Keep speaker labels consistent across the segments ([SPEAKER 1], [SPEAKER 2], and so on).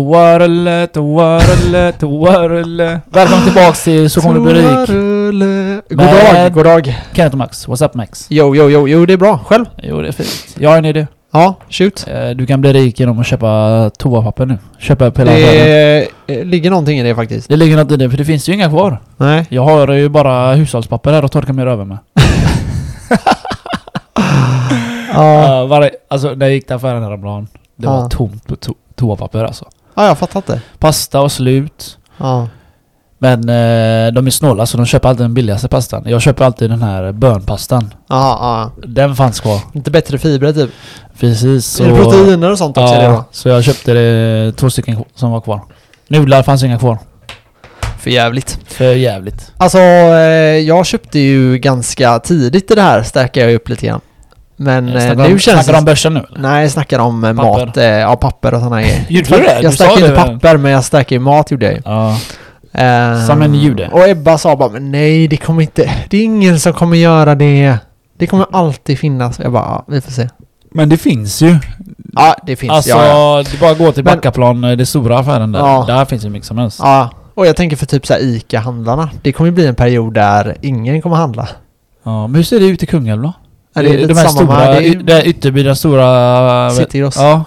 [SPEAKER 1] Toarulle, toarulle, toarulle. Välkommen tillbaks till Så kommer du bli rik.
[SPEAKER 2] Toarulle. God
[SPEAKER 1] Men-
[SPEAKER 2] dag, god dag.
[SPEAKER 1] Kenneth och Max, what's up Max?
[SPEAKER 2] Jo, jo, jo, jo, det är bra. Själv?
[SPEAKER 1] Jo det är fint. Jag har en idé.
[SPEAKER 2] Ja, shoot.
[SPEAKER 1] Eh, Du kan bli rik genom att köpa toapapper nu. Köpa upp hela affären.
[SPEAKER 2] Det eh, ligger någonting i det faktiskt.
[SPEAKER 1] Det ligger något i det, för det finns ju inga kvar.
[SPEAKER 2] Nej.
[SPEAKER 1] Jag har ju bara hushållspapper här att torka mig över med.
[SPEAKER 2] Ja,
[SPEAKER 1] Uh, varje, alltså när jag gick till affären häromdagen, det var
[SPEAKER 2] Ja.
[SPEAKER 1] tomt på to- toapapper alltså.
[SPEAKER 2] ja jag fattar inte.
[SPEAKER 1] Pasta var slut.
[SPEAKER 2] Ja.
[SPEAKER 1] Men eh, de är snåla så de köper alltid den billigaste pastan. Jag köper alltid den här bönpastan.
[SPEAKER 2] Ja, ja.
[SPEAKER 1] Den fanns kvar.
[SPEAKER 2] Lite bättre fibrer typ.
[SPEAKER 1] Precis. Så,
[SPEAKER 2] Är det proteiner och sånt också i det då?
[SPEAKER 1] Ja, så jag köpte det, två stycken som var kvar. Nudlar fanns inga kvar.
[SPEAKER 2] För jävligt.
[SPEAKER 1] För jävligt.
[SPEAKER 2] Alltså, eh, jag köpte ju ganska tidigt i det här, stärker jag upp lite grann. Men eh,
[SPEAKER 1] snackar
[SPEAKER 2] nu
[SPEAKER 1] om,
[SPEAKER 2] känns
[SPEAKER 1] snackar
[SPEAKER 2] det...
[SPEAKER 1] om börsen nu eller?
[SPEAKER 2] Nej, jag snackar om eh,
[SPEAKER 1] Papper.
[SPEAKER 2] mat, eh, ja papper och sådana grejer.
[SPEAKER 1] Gjorde du det? Du
[SPEAKER 2] Jag
[SPEAKER 1] sa
[SPEAKER 2] stärker
[SPEAKER 1] det
[SPEAKER 2] inte
[SPEAKER 1] väl?
[SPEAKER 2] papper, men jag stärker ju mat gjorde jag ju.
[SPEAKER 1] Ja.
[SPEAKER 2] Ehm,
[SPEAKER 1] Som en jude.
[SPEAKER 2] Och Ebba sa bara, men nej det kommer inte, det är ingen som kommer göra det. Det kommer alltid finnas. Jag bara, ja, vi får se.
[SPEAKER 1] Men det finns ju.
[SPEAKER 2] Ja, det finns.
[SPEAKER 1] Alltså,
[SPEAKER 2] ja, ja.
[SPEAKER 1] det är bara att gå till
[SPEAKER 2] Men-
[SPEAKER 1] Backaplan, eh, det stora affären där.
[SPEAKER 2] Ja.
[SPEAKER 1] Där finns ju mycket som helst.
[SPEAKER 2] ja. Och jag tänker för typ så här ICA-handlarna. Det kommer ju bli en period där ingen kommer handla.
[SPEAKER 1] Ja, men hur ser det ut i Kungälv då?
[SPEAKER 2] Ja, det är lite
[SPEAKER 1] de här
[SPEAKER 2] samma
[SPEAKER 1] stora,
[SPEAKER 2] med- det är
[SPEAKER 1] y-
[SPEAKER 2] ju-
[SPEAKER 1] där Ytterby, den stora... eh,
[SPEAKER 2] Citygross.
[SPEAKER 1] Ja,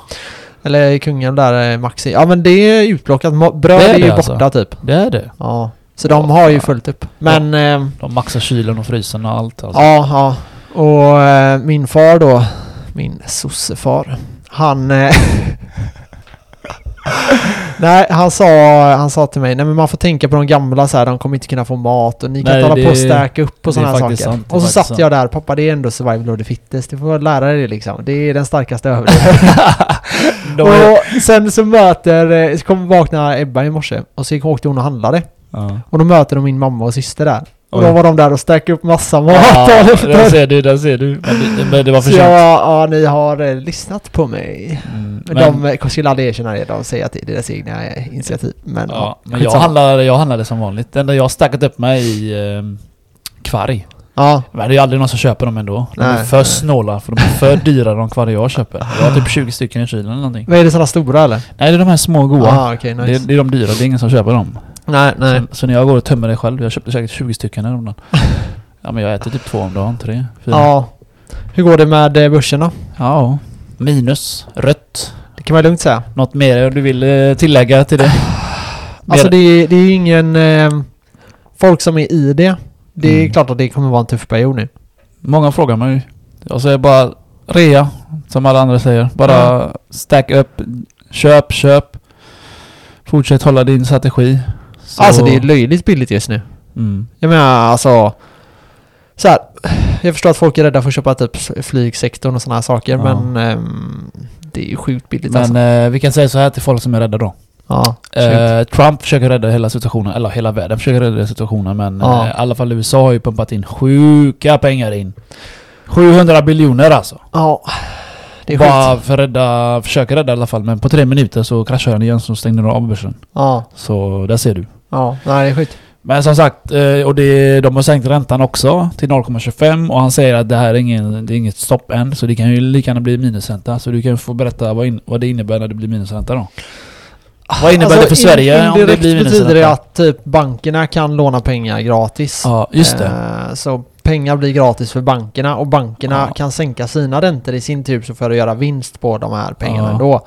[SPEAKER 2] Eller i Kungälv där, eh, Maxi. Ja men det är utplockat. Ma- Bröd
[SPEAKER 1] Det är
[SPEAKER 2] är, ju
[SPEAKER 1] det alltså.
[SPEAKER 2] borta typ.
[SPEAKER 1] det är det.
[SPEAKER 2] Ja. Så de har ju
[SPEAKER 1] Ja.
[SPEAKER 2] fullt upp. Men, ehm, ja,
[SPEAKER 1] De maxar kylen och frysen och allt alltså.
[SPEAKER 2] ja. ja. Och eh, min far då, min sossefar, han... eh, Nej, han sa, han sa till mig, nej men man får tänka på de gamla så här, de kommer inte kunna få mat och ni kan
[SPEAKER 1] Nej,
[SPEAKER 2] inte hålla
[SPEAKER 1] det-
[SPEAKER 2] på och stärka upp
[SPEAKER 1] det är
[SPEAKER 2] och sådana här saker.
[SPEAKER 1] faktiskt sant, det är
[SPEAKER 2] och så
[SPEAKER 1] faktiskt
[SPEAKER 2] satt
[SPEAKER 1] sant.
[SPEAKER 2] jag där, pappa det är ändå survival of the fittest, du får lära dig det liksom. Det är den starkaste överlevnaden.
[SPEAKER 1] De är,
[SPEAKER 2] och sen så möter, eh, så kom vakna Ebba i morse och så gick- åkte hon och handlade.
[SPEAKER 1] ja.
[SPEAKER 2] Och då möter de min mamma och syster där. Och då
[SPEAKER 1] Oj.
[SPEAKER 2] var de där och stärkte upp massa mat.
[SPEAKER 1] Ja,
[SPEAKER 2] dagen efter.
[SPEAKER 1] där ser du, där ser du. Men det, men det var för
[SPEAKER 2] så jag,
[SPEAKER 1] sent.
[SPEAKER 2] bara, ja ni har eh, lyssnat på mig.
[SPEAKER 1] Mm,
[SPEAKER 2] Men, de eh, skulle aldrig erkänna det, de säger att det är deras egna eh, initiativ. Men,
[SPEAKER 1] ja, men jag
[SPEAKER 2] skitsamma.
[SPEAKER 1] handlade, jag handlade som vanligt. Det enda jag har stackat upp mig i eh, kvarg.
[SPEAKER 2] Ja,
[SPEAKER 1] Men det är ju aldrig någon som köper dem ändå. De är
[SPEAKER 2] Nej.
[SPEAKER 1] för snåla, för de är för dyra de kvarg jag köper. Jag har typ 20 stycken i kylen eller någonting.
[SPEAKER 2] men är det sådana stora eller?
[SPEAKER 1] Nej, det är de här små goa.
[SPEAKER 2] Ja, okej, Ah, nice.
[SPEAKER 1] det, det är de dyra, det är ingen som köper dem.
[SPEAKER 2] nej, nej.
[SPEAKER 1] Så, så när jag går och tömmer det själv, jag köpte säkert 20 stycken häromdagen. Ja men jag äter typ två om dagen, tre, fyra.
[SPEAKER 2] Ja. Hur går det med eh, börsen då?
[SPEAKER 1] ja. Minus, rött.
[SPEAKER 2] Det kan man lugnt säga.
[SPEAKER 1] Något mer du vill eh, tillägga till det?
[SPEAKER 2] Alltså
[SPEAKER 1] Mer-
[SPEAKER 2] det, är- det är ju ingen... Eh, folk som är i det. Det är
[SPEAKER 1] Mm.
[SPEAKER 2] klart att det kommer vara en tuff period nu.
[SPEAKER 1] Många frågar mig. Jag säger bara rea, som alla andra säger. Bara stack upp, köp, köp. Fortsätt hålla din strategi. Så-
[SPEAKER 2] Alltså det är löjligt billigt just nu.
[SPEAKER 1] mm.
[SPEAKER 2] Jag menar alltså... Så här, jag förstår att folk är rädda för att köpa typ flygsektorn och sådana här saker
[SPEAKER 1] Ja.
[SPEAKER 2] men ehm, det är ju sjukt billigt
[SPEAKER 1] Men
[SPEAKER 2] alltså.
[SPEAKER 1] eh, vi kan säga så här till folk som är rädda då.
[SPEAKER 2] Ja, sjukt.
[SPEAKER 1] Eh, Trump försöker rädda hela situationen, eller hela världen försöker rädda situationen men
[SPEAKER 2] Ja.
[SPEAKER 1] eh, i alla fall USA har ju pumpat in sjuka pengar in. 700 biljoner alltså.
[SPEAKER 2] ja, det är sjukt.
[SPEAKER 1] Bara för att rädda, försöka rädda i alla fall men på tre minuter så kraschar den igen så stänger de av börsen.
[SPEAKER 2] Ja,
[SPEAKER 1] Så där ser du.
[SPEAKER 2] ja, nej det är sjukt.
[SPEAKER 1] Men som sagt, eh, och det, de har sänkt räntan också till 0,25 och han säger att det här är, ingen, det är inget stopp än så det kan ju lika gärna bli minusränta. Så du kan få berätta vad, in, vad det innebär när det blir minusränta då. Vad innebär det för
[SPEAKER 2] Alltså, in-
[SPEAKER 1] Sverige om det
[SPEAKER 2] indirekt
[SPEAKER 1] blir
[SPEAKER 2] betyder det
[SPEAKER 1] minusränta?
[SPEAKER 2] att typ bankerna kan låna pengar gratis.
[SPEAKER 1] Ja, just det.
[SPEAKER 2] Eh, Så pengar blir gratis för bankerna och bankerna
[SPEAKER 1] Ja.
[SPEAKER 2] kan sänka sina räntor i sin tur så för att göra vinst på de här pengarna
[SPEAKER 1] Ja.
[SPEAKER 2] ändå.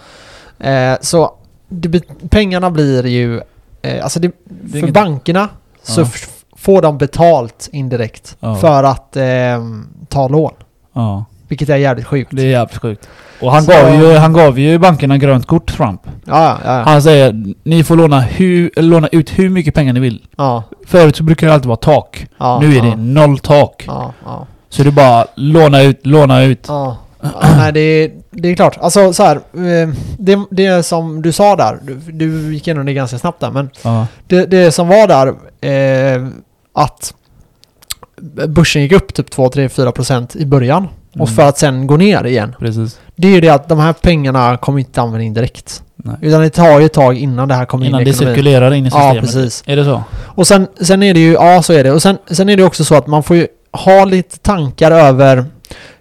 [SPEAKER 2] Eh, Så det, be- pengarna blir ju... eh, Alltså det, för
[SPEAKER 1] inget-
[SPEAKER 2] bankerna så
[SPEAKER 1] Ja.
[SPEAKER 2] f- får de betalt indirekt
[SPEAKER 1] Ja.
[SPEAKER 2] för att ehm, ta lån.
[SPEAKER 1] Ja,
[SPEAKER 2] Vilket är jävligt sjukt.
[SPEAKER 1] det är jävligt sjukt. Och han
[SPEAKER 2] Så-
[SPEAKER 1] gav, ju, han gav ju bankerna grönt kort, Trump.
[SPEAKER 2] Ja, ja, ja.
[SPEAKER 1] Han säger ni får låna, hur, låna ut hur mycket pengar ni vill.
[SPEAKER 2] ja,
[SPEAKER 1] Förut så brukar det alltid vara tak.
[SPEAKER 2] ja
[SPEAKER 1] nu är
[SPEAKER 2] ja,
[SPEAKER 1] det noll tak.
[SPEAKER 2] Ja, ja.
[SPEAKER 1] Så det är bara låna ut, låna ut.
[SPEAKER 2] Ja, ja nej, det, är- det är klart. Alltså så här, eh, det, det som du sa där, du, du gick igenom det ganska snabbt där, men
[SPEAKER 1] Ja.
[SPEAKER 2] det, det som var där, eh, att börsen gick upp typ 2, 3, 4 procent i början och
[SPEAKER 1] Mm.
[SPEAKER 2] för att sen gå ner igen.
[SPEAKER 1] Precis.
[SPEAKER 2] Det är ju det att de här pengarna kommer inte till användning direkt.
[SPEAKER 1] Nej.
[SPEAKER 2] Utan det tar ju ett tag innan det här kommer
[SPEAKER 1] Innan
[SPEAKER 2] in i
[SPEAKER 1] det
[SPEAKER 2] ekonomin.
[SPEAKER 1] cirkulerar in i systemet.
[SPEAKER 2] Ja, precis.
[SPEAKER 1] Är det så?
[SPEAKER 2] Och sen, sen är det ju, ja så är det. Och sen, sen är det också så att man får ju ha lite tankar över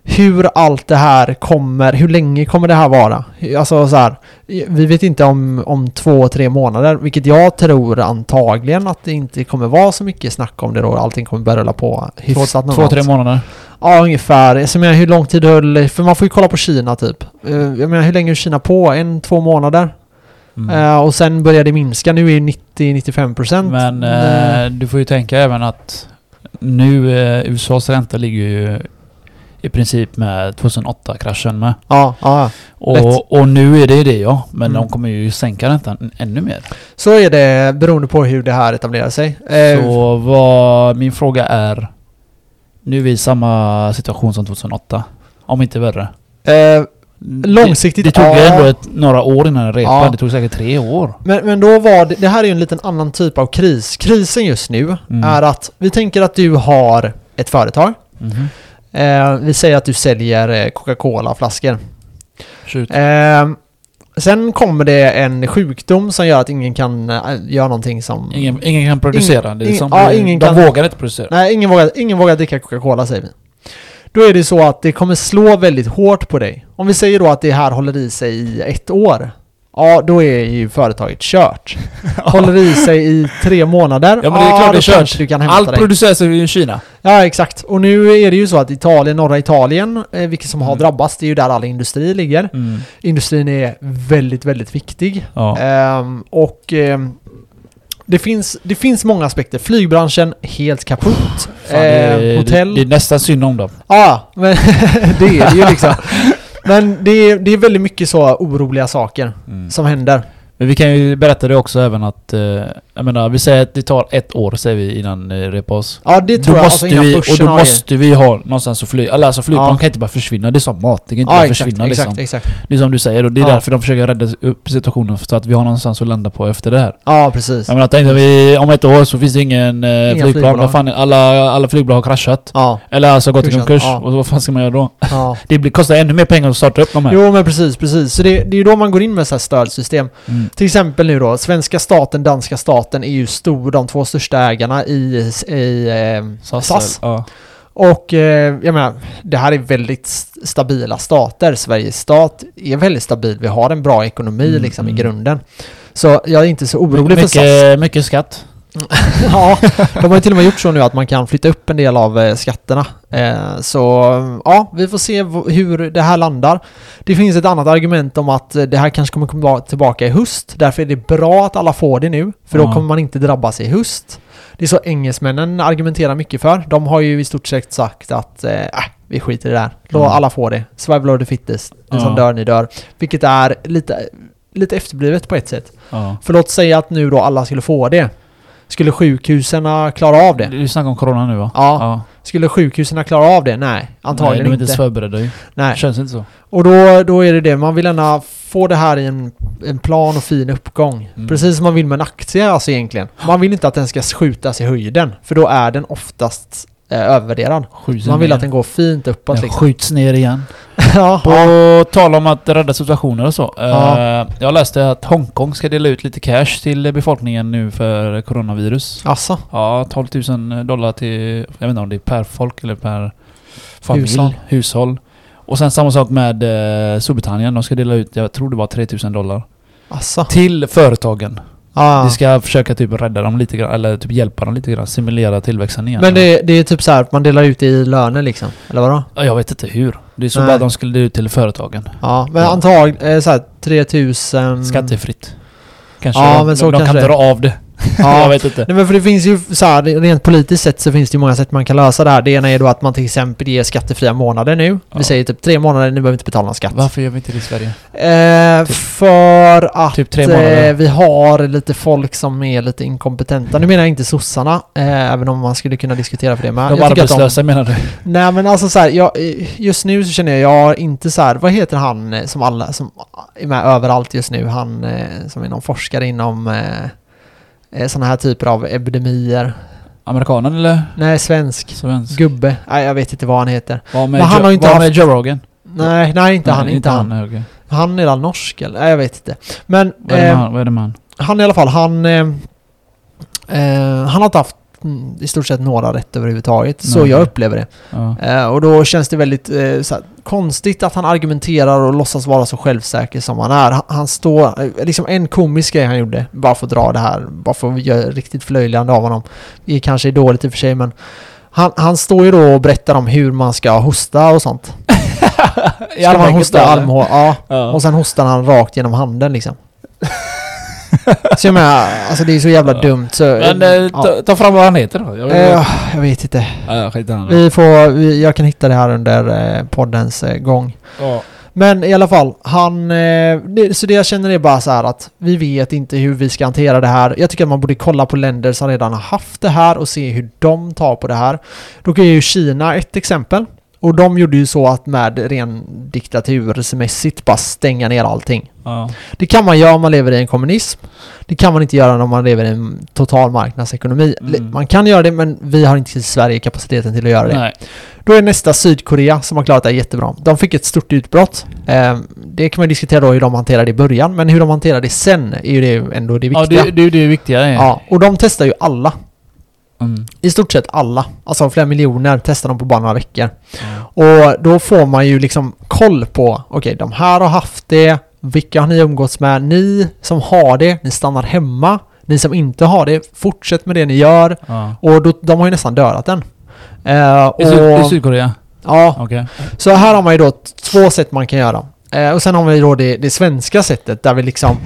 [SPEAKER 2] hur allt det här kommer, hur länge kommer det här vara? Alltså så här, vi vet inte om, om två, tre månader, vilket jag tror antagligen att det inte kommer vara så mycket snack om det då. Allting kommer börja rulla på
[SPEAKER 1] Två,
[SPEAKER 2] hyfsat
[SPEAKER 1] två,
[SPEAKER 2] normalt.
[SPEAKER 1] tre månader.
[SPEAKER 2] Ja, ungefär. Så jag menar, hur lång tid höll... För man får ju kolla på Kina typ. Eh, Jag menar, hur länge höll Kina på? En, två månader?
[SPEAKER 1] Mm.
[SPEAKER 2] Eh, Och sen började det minska. Nu är det 90-95%.
[SPEAKER 1] Men eh, du får ju tänka även att nu eh, USAs ränta ligger ju i princip med 2008-kraschen med.
[SPEAKER 2] Ja, ja. Lätt.
[SPEAKER 1] Och, och nu är det det ja, men
[SPEAKER 2] Mm.
[SPEAKER 1] de kommer ju sänka räntan ännu mer.
[SPEAKER 2] Så är det beroende på hur det här etablerar sig. Eh,
[SPEAKER 1] Så vad min fråga är, nu är vi i samma situation som 2008. Om inte värre.
[SPEAKER 2] eh,
[SPEAKER 1] Det,
[SPEAKER 2] Långsiktigt,
[SPEAKER 1] det tog ju
[SPEAKER 2] ja.
[SPEAKER 1] ändå ett, några år innan den repade.
[SPEAKER 2] Ja.
[SPEAKER 1] Det tog säkert tre år.
[SPEAKER 2] Men, men då var det, det här är ju en liten annan typ av kris. Krisen just nu
[SPEAKER 1] Mm.
[SPEAKER 2] är att vi tänker att du har ett företag.
[SPEAKER 1] Mhm.
[SPEAKER 2] Eh, vi säger att du säljer eh, Coca-Cola-flaskor.
[SPEAKER 1] Tjut.
[SPEAKER 2] Eh, sen kommer det en sjukdom som gör att ingen kan eh, göra någonting som...
[SPEAKER 1] Ingen, ingen kan producera. det är
[SPEAKER 2] ingen-
[SPEAKER 1] liksom,
[SPEAKER 2] ja, ingen
[SPEAKER 1] de
[SPEAKER 2] kan-
[SPEAKER 1] vågar inte producera.
[SPEAKER 2] Nej, ingen vågar, ingen vågar dricka Coca-Cola säger vi. Då är det så att det kommer slå väldigt hårt på dig. Om vi säger då att det här håller i sig i ett år. Ja, då är ju företaget kört. Håller i sig i tre månader.
[SPEAKER 1] Ja men det är klart
[SPEAKER 2] då
[SPEAKER 1] det är kört.
[SPEAKER 2] kanske Du kan hämta
[SPEAKER 1] Allt
[SPEAKER 2] Allt dig.
[SPEAKER 1] produceras i Kina.
[SPEAKER 2] Ja, exakt. Och nu är det ju så att Italien, norra Italien, eh, vilket som har
[SPEAKER 1] Mm.
[SPEAKER 2] drabbats, det är ju där all industri ligger. Industrin är väldigt, väldigt viktig.
[SPEAKER 1] Ja.
[SPEAKER 2] Ehm, och ehm, det, finns, det finns många aspekter. Flygbranschen, helt kaputt.
[SPEAKER 1] Fan, det, är,
[SPEAKER 2] Ehm, hotell.
[SPEAKER 1] det, det är nästan synd om dem.
[SPEAKER 2] Ja, men det är det ju liksom. Men det är, det är väldigt mycket så oroliga saker som händer.
[SPEAKER 1] Men vi kan ju berätta det också även att... Eh, jag menar, vi säger att det tar ett år säger vi innan det repar oss.
[SPEAKER 2] Ja, det tror
[SPEAKER 1] då
[SPEAKER 2] jag. Alltså,
[SPEAKER 1] måste
[SPEAKER 2] innan
[SPEAKER 1] vi, och
[SPEAKER 2] börsen
[SPEAKER 1] då
[SPEAKER 2] har det.
[SPEAKER 1] måste vi ha någonstans att fly. Alla alltså flygplan
[SPEAKER 2] Ja.
[SPEAKER 1] kan inte bara försvinna. Det är som mat. Det kan inte
[SPEAKER 2] ja,
[SPEAKER 1] bara
[SPEAKER 2] exakt,
[SPEAKER 1] försvinna
[SPEAKER 2] exakt,
[SPEAKER 1] liksom.
[SPEAKER 2] exakt.
[SPEAKER 1] Det är som du säger och det är
[SPEAKER 2] Ja.
[SPEAKER 1] därför de försöker rädda upp situationen så att vi har någonstans att landa på efter det här.
[SPEAKER 2] Ja, precis.
[SPEAKER 1] Jag menar, tänkte vi om ett år så finns det ingen eh, flygplan.
[SPEAKER 2] flygbolag.
[SPEAKER 1] Vad fan, alla, alla flygbolag har kraschat.
[SPEAKER 2] Ja,
[SPEAKER 1] Eller alltså gått i
[SPEAKER 2] Kursat,
[SPEAKER 1] konkurs.
[SPEAKER 2] ja.
[SPEAKER 1] Och vad fan ska man göra då?
[SPEAKER 2] ja.
[SPEAKER 1] Det blir, kostar ännu mer pengar att starta upp de här.
[SPEAKER 2] Jo, men precis, precis. Så det, det är ju då man går in med så här stödsystem.
[SPEAKER 1] Mm.
[SPEAKER 2] Till exempel nu då, svenska staten, danska staten är ju stor, de två största ägarna i, i eh,
[SPEAKER 1] SAS.
[SPEAKER 2] SAS.
[SPEAKER 1] Ja.
[SPEAKER 2] Och eh, jag menar, det här är väldigt st- stabila stater. Sveriges stat är väldigt stabil. Vi har en bra ekonomi
[SPEAKER 1] Mm,
[SPEAKER 2] liksom i
[SPEAKER 1] mm.
[SPEAKER 2] grunden. Så jag är inte så orolig för SAS.
[SPEAKER 1] Mycket, mycket skatt.
[SPEAKER 2] ja, de har ju till och med gjort så nu att man kan flytta upp en del av eh, skatterna. Eh, så eh, ja, vi får se v- hur det här landar. Det finns ett annat argument om att eh, det här kanske kommer komma tillbaka i höst. Därför är det bra att alla får det nu, för då
[SPEAKER 1] Ja.
[SPEAKER 2] kommer man inte drabbas i höst. Det är så engelsmännen argumenterar mycket för. De har ju i stort sett sagt att eh, äh, vi skiter i det här. Låt
[SPEAKER 1] Mm.
[SPEAKER 2] alla få det. Survival of the fittest. Ni som
[SPEAKER 1] Ja.
[SPEAKER 2] dör, ni dör. Vilket är lite, lite efterblivet på ett sätt.
[SPEAKER 1] Ja.
[SPEAKER 2] För låt säga att nu då alla skulle få det. Skulle sjukhusen klara av det?
[SPEAKER 1] Du snackar om corona nu va?
[SPEAKER 2] Ja. Skulle sjukhusen klara av det? Nej, antagligen
[SPEAKER 1] Nej, de är inte
[SPEAKER 2] inte.
[SPEAKER 1] så förberedda ju.
[SPEAKER 2] Nej.
[SPEAKER 1] Känns inte så.
[SPEAKER 2] Och då, då är det det, man vill gärna få det här i en, en plan och fin uppgång.
[SPEAKER 1] Mm.
[SPEAKER 2] Precis som man vill med en aktie alltså egentligen. Man vill inte att den ska skjutas i höjden, för då är den oftast eh, övervärderad.
[SPEAKER 1] Skjuts
[SPEAKER 2] Man vill
[SPEAKER 1] ner.
[SPEAKER 2] att den går fint uppåt
[SPEAKER 1] Den
[SPEAKER 2] liksom.
[SPEAKER 1] skjuts ner igen.
[SPEAKER 2] ja,
[SPEAKER 1] På tal om att rädda situationer och så.
[SPEAKER 2] Ja.
[SPEAKER 1] Eh, jag läste att Hongkong ska dela ut lite cash till befolkningen nu för coronavirus.
[SPEAKER 2] alltså.
[SPEAKER 1] Ja, 12 000 dollar till... Jag vet inte om det är per folk eller per familj.
[SPEAKER 2] Hushåll.
[SPEAKER 1] Hushåll. Och sen samma sak med eh, Storbritannien. De ska dela ut, jag tror det var 3 000 dollar.
[SPEAKER 2] Alltså.
[SPEAKER 1] Till företagen.
[SPEAKER 2] Ja.
[SPEAKER 1] Vi ska försöka typ rädda dem lite grann, eller typ hjälpa dem lite grann, simulera tillväxten igen.
[SPEAKER 2] Men det, det är typ så här, man delar ut det i löner liksom, eller vadå?
[SPEAKER 1] Ja, Jag vet inte hur. Det är så
[SPEAKER 2] Nej.
[SPEAKER 1] bara de skulle dela ut till företagen.
[SPEAKER 2] Ja, men
[SPEAKER 1] Ja. typ-
[SPEAKER 2] antagligen eh, så här 3000...
[SPEAKER 1] Skattefritt. Kanske
[SPEAKER 2] Mm. Ja,
[SPEAKER 1] de,
[SPEAKER 2] men så
[SPEAKER 1] de, de
[SPEAKER 2] kanske
[SPEAKER 1] kan
[SPEAKER 2] det
[SPEAKER 1] dra av det. jag
[SPEAKER 2] Ja,
[SPEAKER 1] vet inte.
[SPEAKER 2] Nej men för det finns ju så här, rent politiskt sett så finns det ju många sätt man kan lösa det här. Det ena är då att man till exempel ger skattefria månader nu. Vi
[SPEAKER 1] Ja.
[SPEAKER 2] säger typ tre månader, ni behöver inte betala någon skatt.
[SPEAKER 1] Varför gör vi inte det i Sverige?
[SPEAKER 2] Eh,
[SPEAKER 1] Typ-
[SPEAKER 2] för att
[SPEAKER 1] typ tre
[SPEAKER 2] eh,
[SPEAKER 1] månader.
[SPEAKER 2] vi har lite folk som är lite inkompetenta. Nu menar jag inte sossarna, eh, även om man skulle kunna diskutera för det med.
[SPEAKER 1] De
[SPEAKER 2] jag tycker att de,
[SPEAKER 1] arbetslösa menar du?
[SPEAKER 2] nej men alltså så här, jag, eh, just nu så känner jag, jag har inte så här, vad heter han eh, som alla, som är med överallt just nu, han eh, som är någon forskare inom eh, sådana här typer av epidemier.
[SPEAKER 1] Amerikanen eller
[SPEAKER 2] Nej, svensk.
[SPEAKER 1] svensk?
[SPEAKER 2] Gubbe. Nej, jag vet inte vad han heter.
[SPEAKER 1] Var med,
[SPEAKER 2] Men han
[SPEAKER 1] Joe,
[SPEAKER 2] har ju inte
[SPEAKER 1] var
[SPEAKER 2] haft-
[SPEAKER 1] med Joe Rogan?
[SPEAKER 2] Nej, nej inte han.
[SPEAKER 1] Nej,
[SPEAKER 2] Inte han.
[SPEAKER 1] nej, okej.
[SPEAKER 2] Han är väl norsk eller? Nej, jag vet inte. Men
[SPEAKER 1] Vad är det med
[SPEAKER 2] eh,
[SPEAKER 1] han? Vad är det med han?
[SPEAKER 2] han i alla fall, han... Eh, eh, han har inte haft mm, i stort sett några rätt överhuvudtaget. Så
[SPEAKER 1] Nej.
[SPEAKER 2] jag upplever det.
[SPEAKER 1] Ja.
[SPEAKER 2] Eh, och då känns det väldigt eh, så här, konstigt att han argumenterar och låtsas vara så självsäker som han är. Han, han står, eh, liksom en komisk grej han gjorde, bara för att dra det här, bara för att göra riktigt förlöjligande av honom. Det kanske är dåligt i och för sig men han, han står ju då och berättar om hur man ska hosta och sånt. Ska man hosta armhåla? Ja.
[SPEAKER 1] Ja.
[SPEAKER 2] Och sen hostar han rakt genom handen liksom. så jag menar, alltså det är så jävla
[SPEAKER 1] Ja.
[SPEAKER 2] dumt så...
[SPEAKER 1] Men eh,
[SPEAKER 2] ja.
[SPEAKER 1] ta, ta fram vad han heter då. Jag vill-
[SPEAKER 2] Eh, jag vet inte.
[SPEAKER 1] Ja, skit i den.
[SPEAKER 2] Vi får, vi, jag kan hitta det här under eh, poddens eh, gång.
[SPEAKER 1] Ja.
[SPEAKER 2] Men i alla fall, han... Eh, det, så det jag känner är bara så här att vi vet inte hur vi ska hantera det här. Jag tycker att man borde kolla på länder som redan har haft det här och se hur de tar på det här. Då är ju Kina ett exempel. Och de gjorde ju så att med ren diktatursmässigt bara stänga ner allting.
[SPEAKER 1] Ja.
[SPEAKER 2] Det kan man göra om man lever i en kommunism. Det kan man inte göra om man lever i en total marknadsekonomi.
[SPEAKER 1] Mm.
[SPEAKER 2] Le- Man kan göra det men vi har inte i Sverige kapaciteten till att göra det.
[SPEAKER 1] Nej.
[SPEAKER 2] Då är nästa Sydkorea som har klarat det här jättebra. De fick ett stort utbrott. Eh, Det kan man diskutera då hur de hanterade i början men hur de hanterade sen är ju det ändå det
[SPEAKER 1] Ja,
[SPEAKER 2] viktiga.
[SPEAKER 1] det, det är ju det viktiga. är.
[SPEAKER 2] ja, och de testar ju alla.
[SPEAKER 1] Mm.
[SPEAKER 2] I stort sett alla. Alltså flera miljoner testar de på bara några veckor. Och då får man ju liksom koll på, okej de här har haft det, vilka har ni umgåtts med? Ni som har det, ni stannar hemma. Ni som inte har det, fortsätt med det ni gör.
[SPEAKER 1] Ja.
[SPEAKER 2] Och då, de har ju nästan dödat den. Eh, och,
[SPEAKER 1] I, Syd, I Sydkorea?
[SPEAKER 2] ja,
[SPEAKER 1] Okej.
[SPEAKER 2] så här har man ju då t- två sätt man kan göra. Eh, och sen har vi då det, det svenska sättet där vi liksom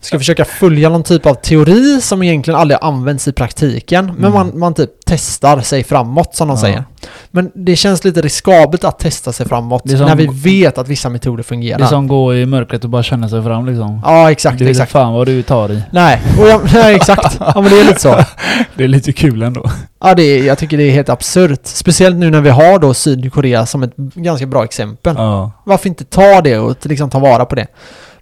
[SPEAKER 2] ska försöka följa någon typ av teori som egentligen aldrig används i praktiken. Men
[SPEAKER 1] Mm.
[SPEAKER 2] man, man typ testar sig framåt som de
[SPEAKER 1] Ja.
[SPEAKER 2] säger. Men det känns lite riskabelt att testa sig framåt
[SPEAKER 1] Det är som-
[SPEAKER 2] när vi vet att vissa metoder
[SPEAKER 1] Det
[SPEAKER 2] fungerar.
[SPEAKER 1] är som gå i mörkret och bara känna sig fram liksom.
[SPEAKER 2] Ja, exakt,
[SPEAKER 1] du vet
[SPEAKER 2] exakt.
[SPEAKER 1] fan vad du tar i.
[SPEAKER 2] Nej, och jag, nej, exakt. Ja, men det är lite så.
[SPEAKER 1] Det är lite kul ändå.
[SPEAKER 2] Ja, det är, jag tycker det är helt absurt. Speciellt nu när vi har då Sydkorea som ett ganska bra exempel.
[SPEAKER 1] Ja.
[SPEAKER 2] Varför inte ta det och liksom ta vara på det?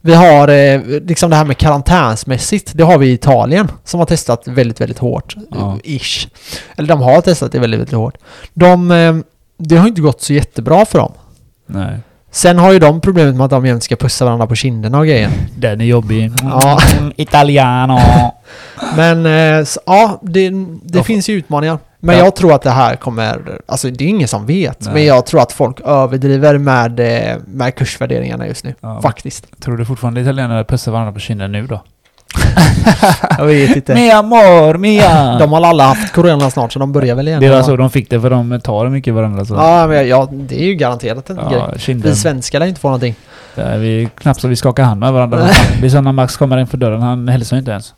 [SPEAKER 2] Vi har eh, liksom det här med karantänsmässigt. Det har vi i Italien som har testat väldigt, väldigt hårt.
[SPEAKER 1] Ja.
[SPEAKER 2] eh, Ish. Eller de har testat det väldigt, väldigt hårt. De, eh, det har inte gått så jättebra för dem.
[SPEAKER 1] Nej.
[SPEAKER 2] Sen har ju de problemet med att de jämt ska pussa varandra på kinderna och grejer.
[SPEAKER 1] Den är jobbig.
[SPEAKER 2] Ja.
[SPEAKER 1] Mm, Italiano.
[SPEAKER 2] Men eh, s- ja, det, det
[SPEAKER 1] Ja.
[SPEAKER 2] finns ju utmaningar. Men
[SPEAKER 1] Ja.
[SPEAKER 2] jag tror att det här kommer, alltså det är ingen som vet,
[SPEAKER 1] Nej.
[SPEAKER 2] men jag tror att folk överdriver med, eh, med kursvärderingarna just nu.
[SPEAKER 1] Ja.
[SPEAKER 2] Faktiskt.
[SPEAKER 1] Tror du fortfarande italienare pussar varandra på kinden nu då?
[SPEAKER 2] Jag vet inte.
[SPEAKER 1] Mia amor, mia!
[SPEAKER 2] De har alla haft corona snart så de börjar väl igen.
[SPEAKER 1] det var så de fick det för de tar mycket varandra så.
[SPEAKER 2] Ja, men ja, det är ju garanterat en grej.
[SPEAKER 1] ja kinden.
[SPEAKER 2] Vi svenskar lär inte få någonting.
[SPEAKER 1] Där vi knappt så vi skakar hand med varandra. Det är som när Max kommer in för dörren, han hälsar ju inte ens.